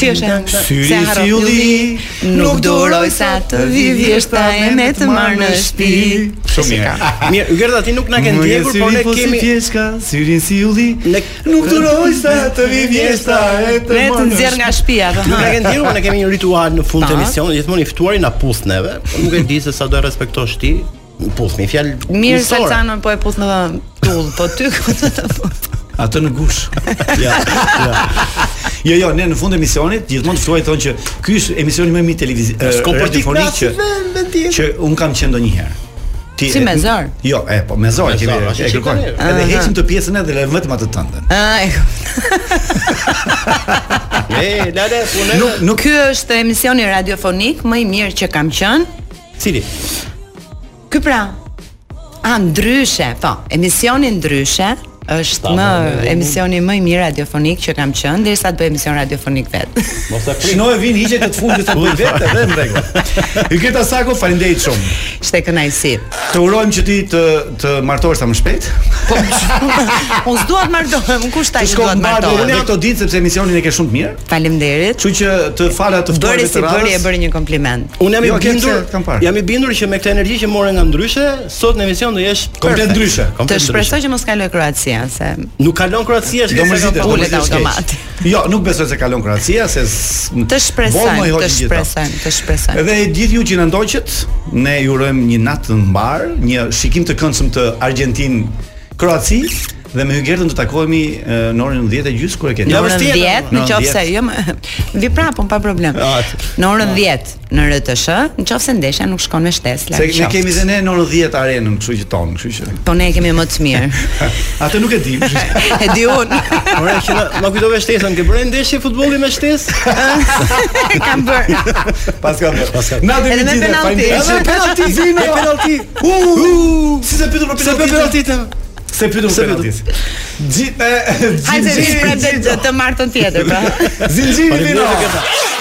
S12: Si është ajo?
S7: Syri
S12: Se harro
S7: fylli,
S12: filli, nuk duroj sa të vi vjeshta e me të marrë në shtëpi.
S7: Shumë mirë.
S8: Mirë, Gerda ti nuk na ke
S7: Më
S8: ndjekur,
S7: je
S8: por
S7: syri
S8: ne
S7: po si
S8: kemi
S7: pjeshka, syrin si ulli. Nuk duroj sa të vi vjeshta e të
S12: Ne të
S7: marrë në
S12: nxjerr nga shtëpia, do
S8: Nuk e ke ndjerë, por ne kemi një ritual në fund të
S12: Ta.
S8: emisionit, gjithmonë i ftuari na puth neve, por nuk e di se sa do e respektosh ti. Puth me fjalë
S12: Mirë
S8: miqësore.
S12: Salcanën po e puth në tull, po ty ku do të puth?
S7: Atë në gush. ja, ja. Jo, jo, ne në fund të emisionit gjithmonë të ftuaj thonë që ky është emisioni më i mirë televiziv
S8: S'ko për t'i
S7: që
S8: krahasim me- me tjetër.
S7: që un kam qenë ndonjëherë. Ti
S12: Si
S7: e-
S12: me zor?
S7: Jo, e po me zor
S8: Me
S7: kemi
S8: zor, është
S7: e kërkoj.
S8: qitaner.
S7: Edhe
S12: Aha.
S7: heqim të pjesën edhe lëm vetëm atë tënde.
S12: Ah, e kuptoj.
S8: E, lale, punë.
S7: Nuk nuk
S12: Ky është emisioni radiofonik më i mirë që kam qenë.
S8: Cili?
S12: Ky pra. A ndryshe, po, emisioni ndryshe është
S8: Ta,
S12: më
S8: po, ne-
S12: emisioni më i mirë radiofonik që kam qenë derisa të bëj emision radiofonik vet.
S8: Mos e
S7: Shino e vin hiqet e të fundit të bëj vetë edhe në rregull. Yketa Sako, faleminderit shumë.
S12: Ishte kënaqësi.
S7: Të urojmë që ti të të martohesh sa më shpejt.
S12: Po. Unë s'dua të martohem, kush ta
S7: Të
S12: që dua
S7: shkon mbarë
S12: të
S7: në
S12: martohem.
S7: këto ditë sepse emisionin e ke shumë të mirë.
S12: Faleminderit.
S7: Kështu që të fala të ftuarve
S12: Bëri si
S7: të
S12: bëri e
S7: radhës.
S12: bëri një kompliment.
S8: Unë jam i
S7: Jo, ke
S8: bindur,
S7: pse, kam parë.
S8: jam i bindur që me këtë energji që morën nga ndryshe, sot në emision do jesh
S7: Komplet
S8: perfect.
S7: ndryshe.
S12: Të
S8: Komplet ndryshe.
S12: shpresoj që mos kaloj Kroacia se
S8: Nuk kalon Kroacia, është
S7: Do
S8: se
S7: mërzitesh,
S8: ka
S7: do
S8: pasur.
S12: Ulet
S7: mërzitesh keq.
S12: automati.
S7: Jo, nuk besoj se kalon Kroacia, se s-
S12: të shpresojmë,
S7: Bollë më i
S12: të
S7: hoqi gjithë ta.
S12: shpresojmë, të shpresojmë.
S7: Edhe gjithë ju që na ndoqët, ne ju urojmë një natë të mbar, një shikim të këndshëm të Argjentinë Kroaci dhe me Hygertën do takohemi e, në orën 10:30 kur e keni.
S8: Ja,
S12: Në
S8: vërtet,
S12: orën 10,
S7: Në
S12: në
S7: orën
S12: qoftë se
S7: 10.
S12: jo, më- vi prapë, un pa problem.
S7: Atë.
S12: Në orën 10 në RTS, në qoftë se ndeshja nuk shkon me shtesë, la.
S7: Se ne kemi dhe ne në orën 10 arenën, kështu që ton, kështu që.
S12: Po ne e kemi më të mirë.
S7: Atë nuk e dim. kështu që-
S12: E di unë,
S8: Ora që na- na kujtove shtesën, ke bërë ndeshje futbolli me shtesë?
S12: kam bërë.
S7: Pas ka. Pas ka. Na do
S12: Edhe me
S7: të
S12: penalti.
S8: Edhe penalti,
S7: Zino,
S8: me penalti.
S7: U! u, Si se pyetur për
S8: Se për
S7: penaltin?
S8: penaltitë.
S7: Se pyetur për
S8: Se pyetur.
S7: penaltin. Gjithë
S12: Hajde vi prandaj të martën tjetër, pra.
S7: Zinxhiri vino.
S8: Faleminderit, Gerda.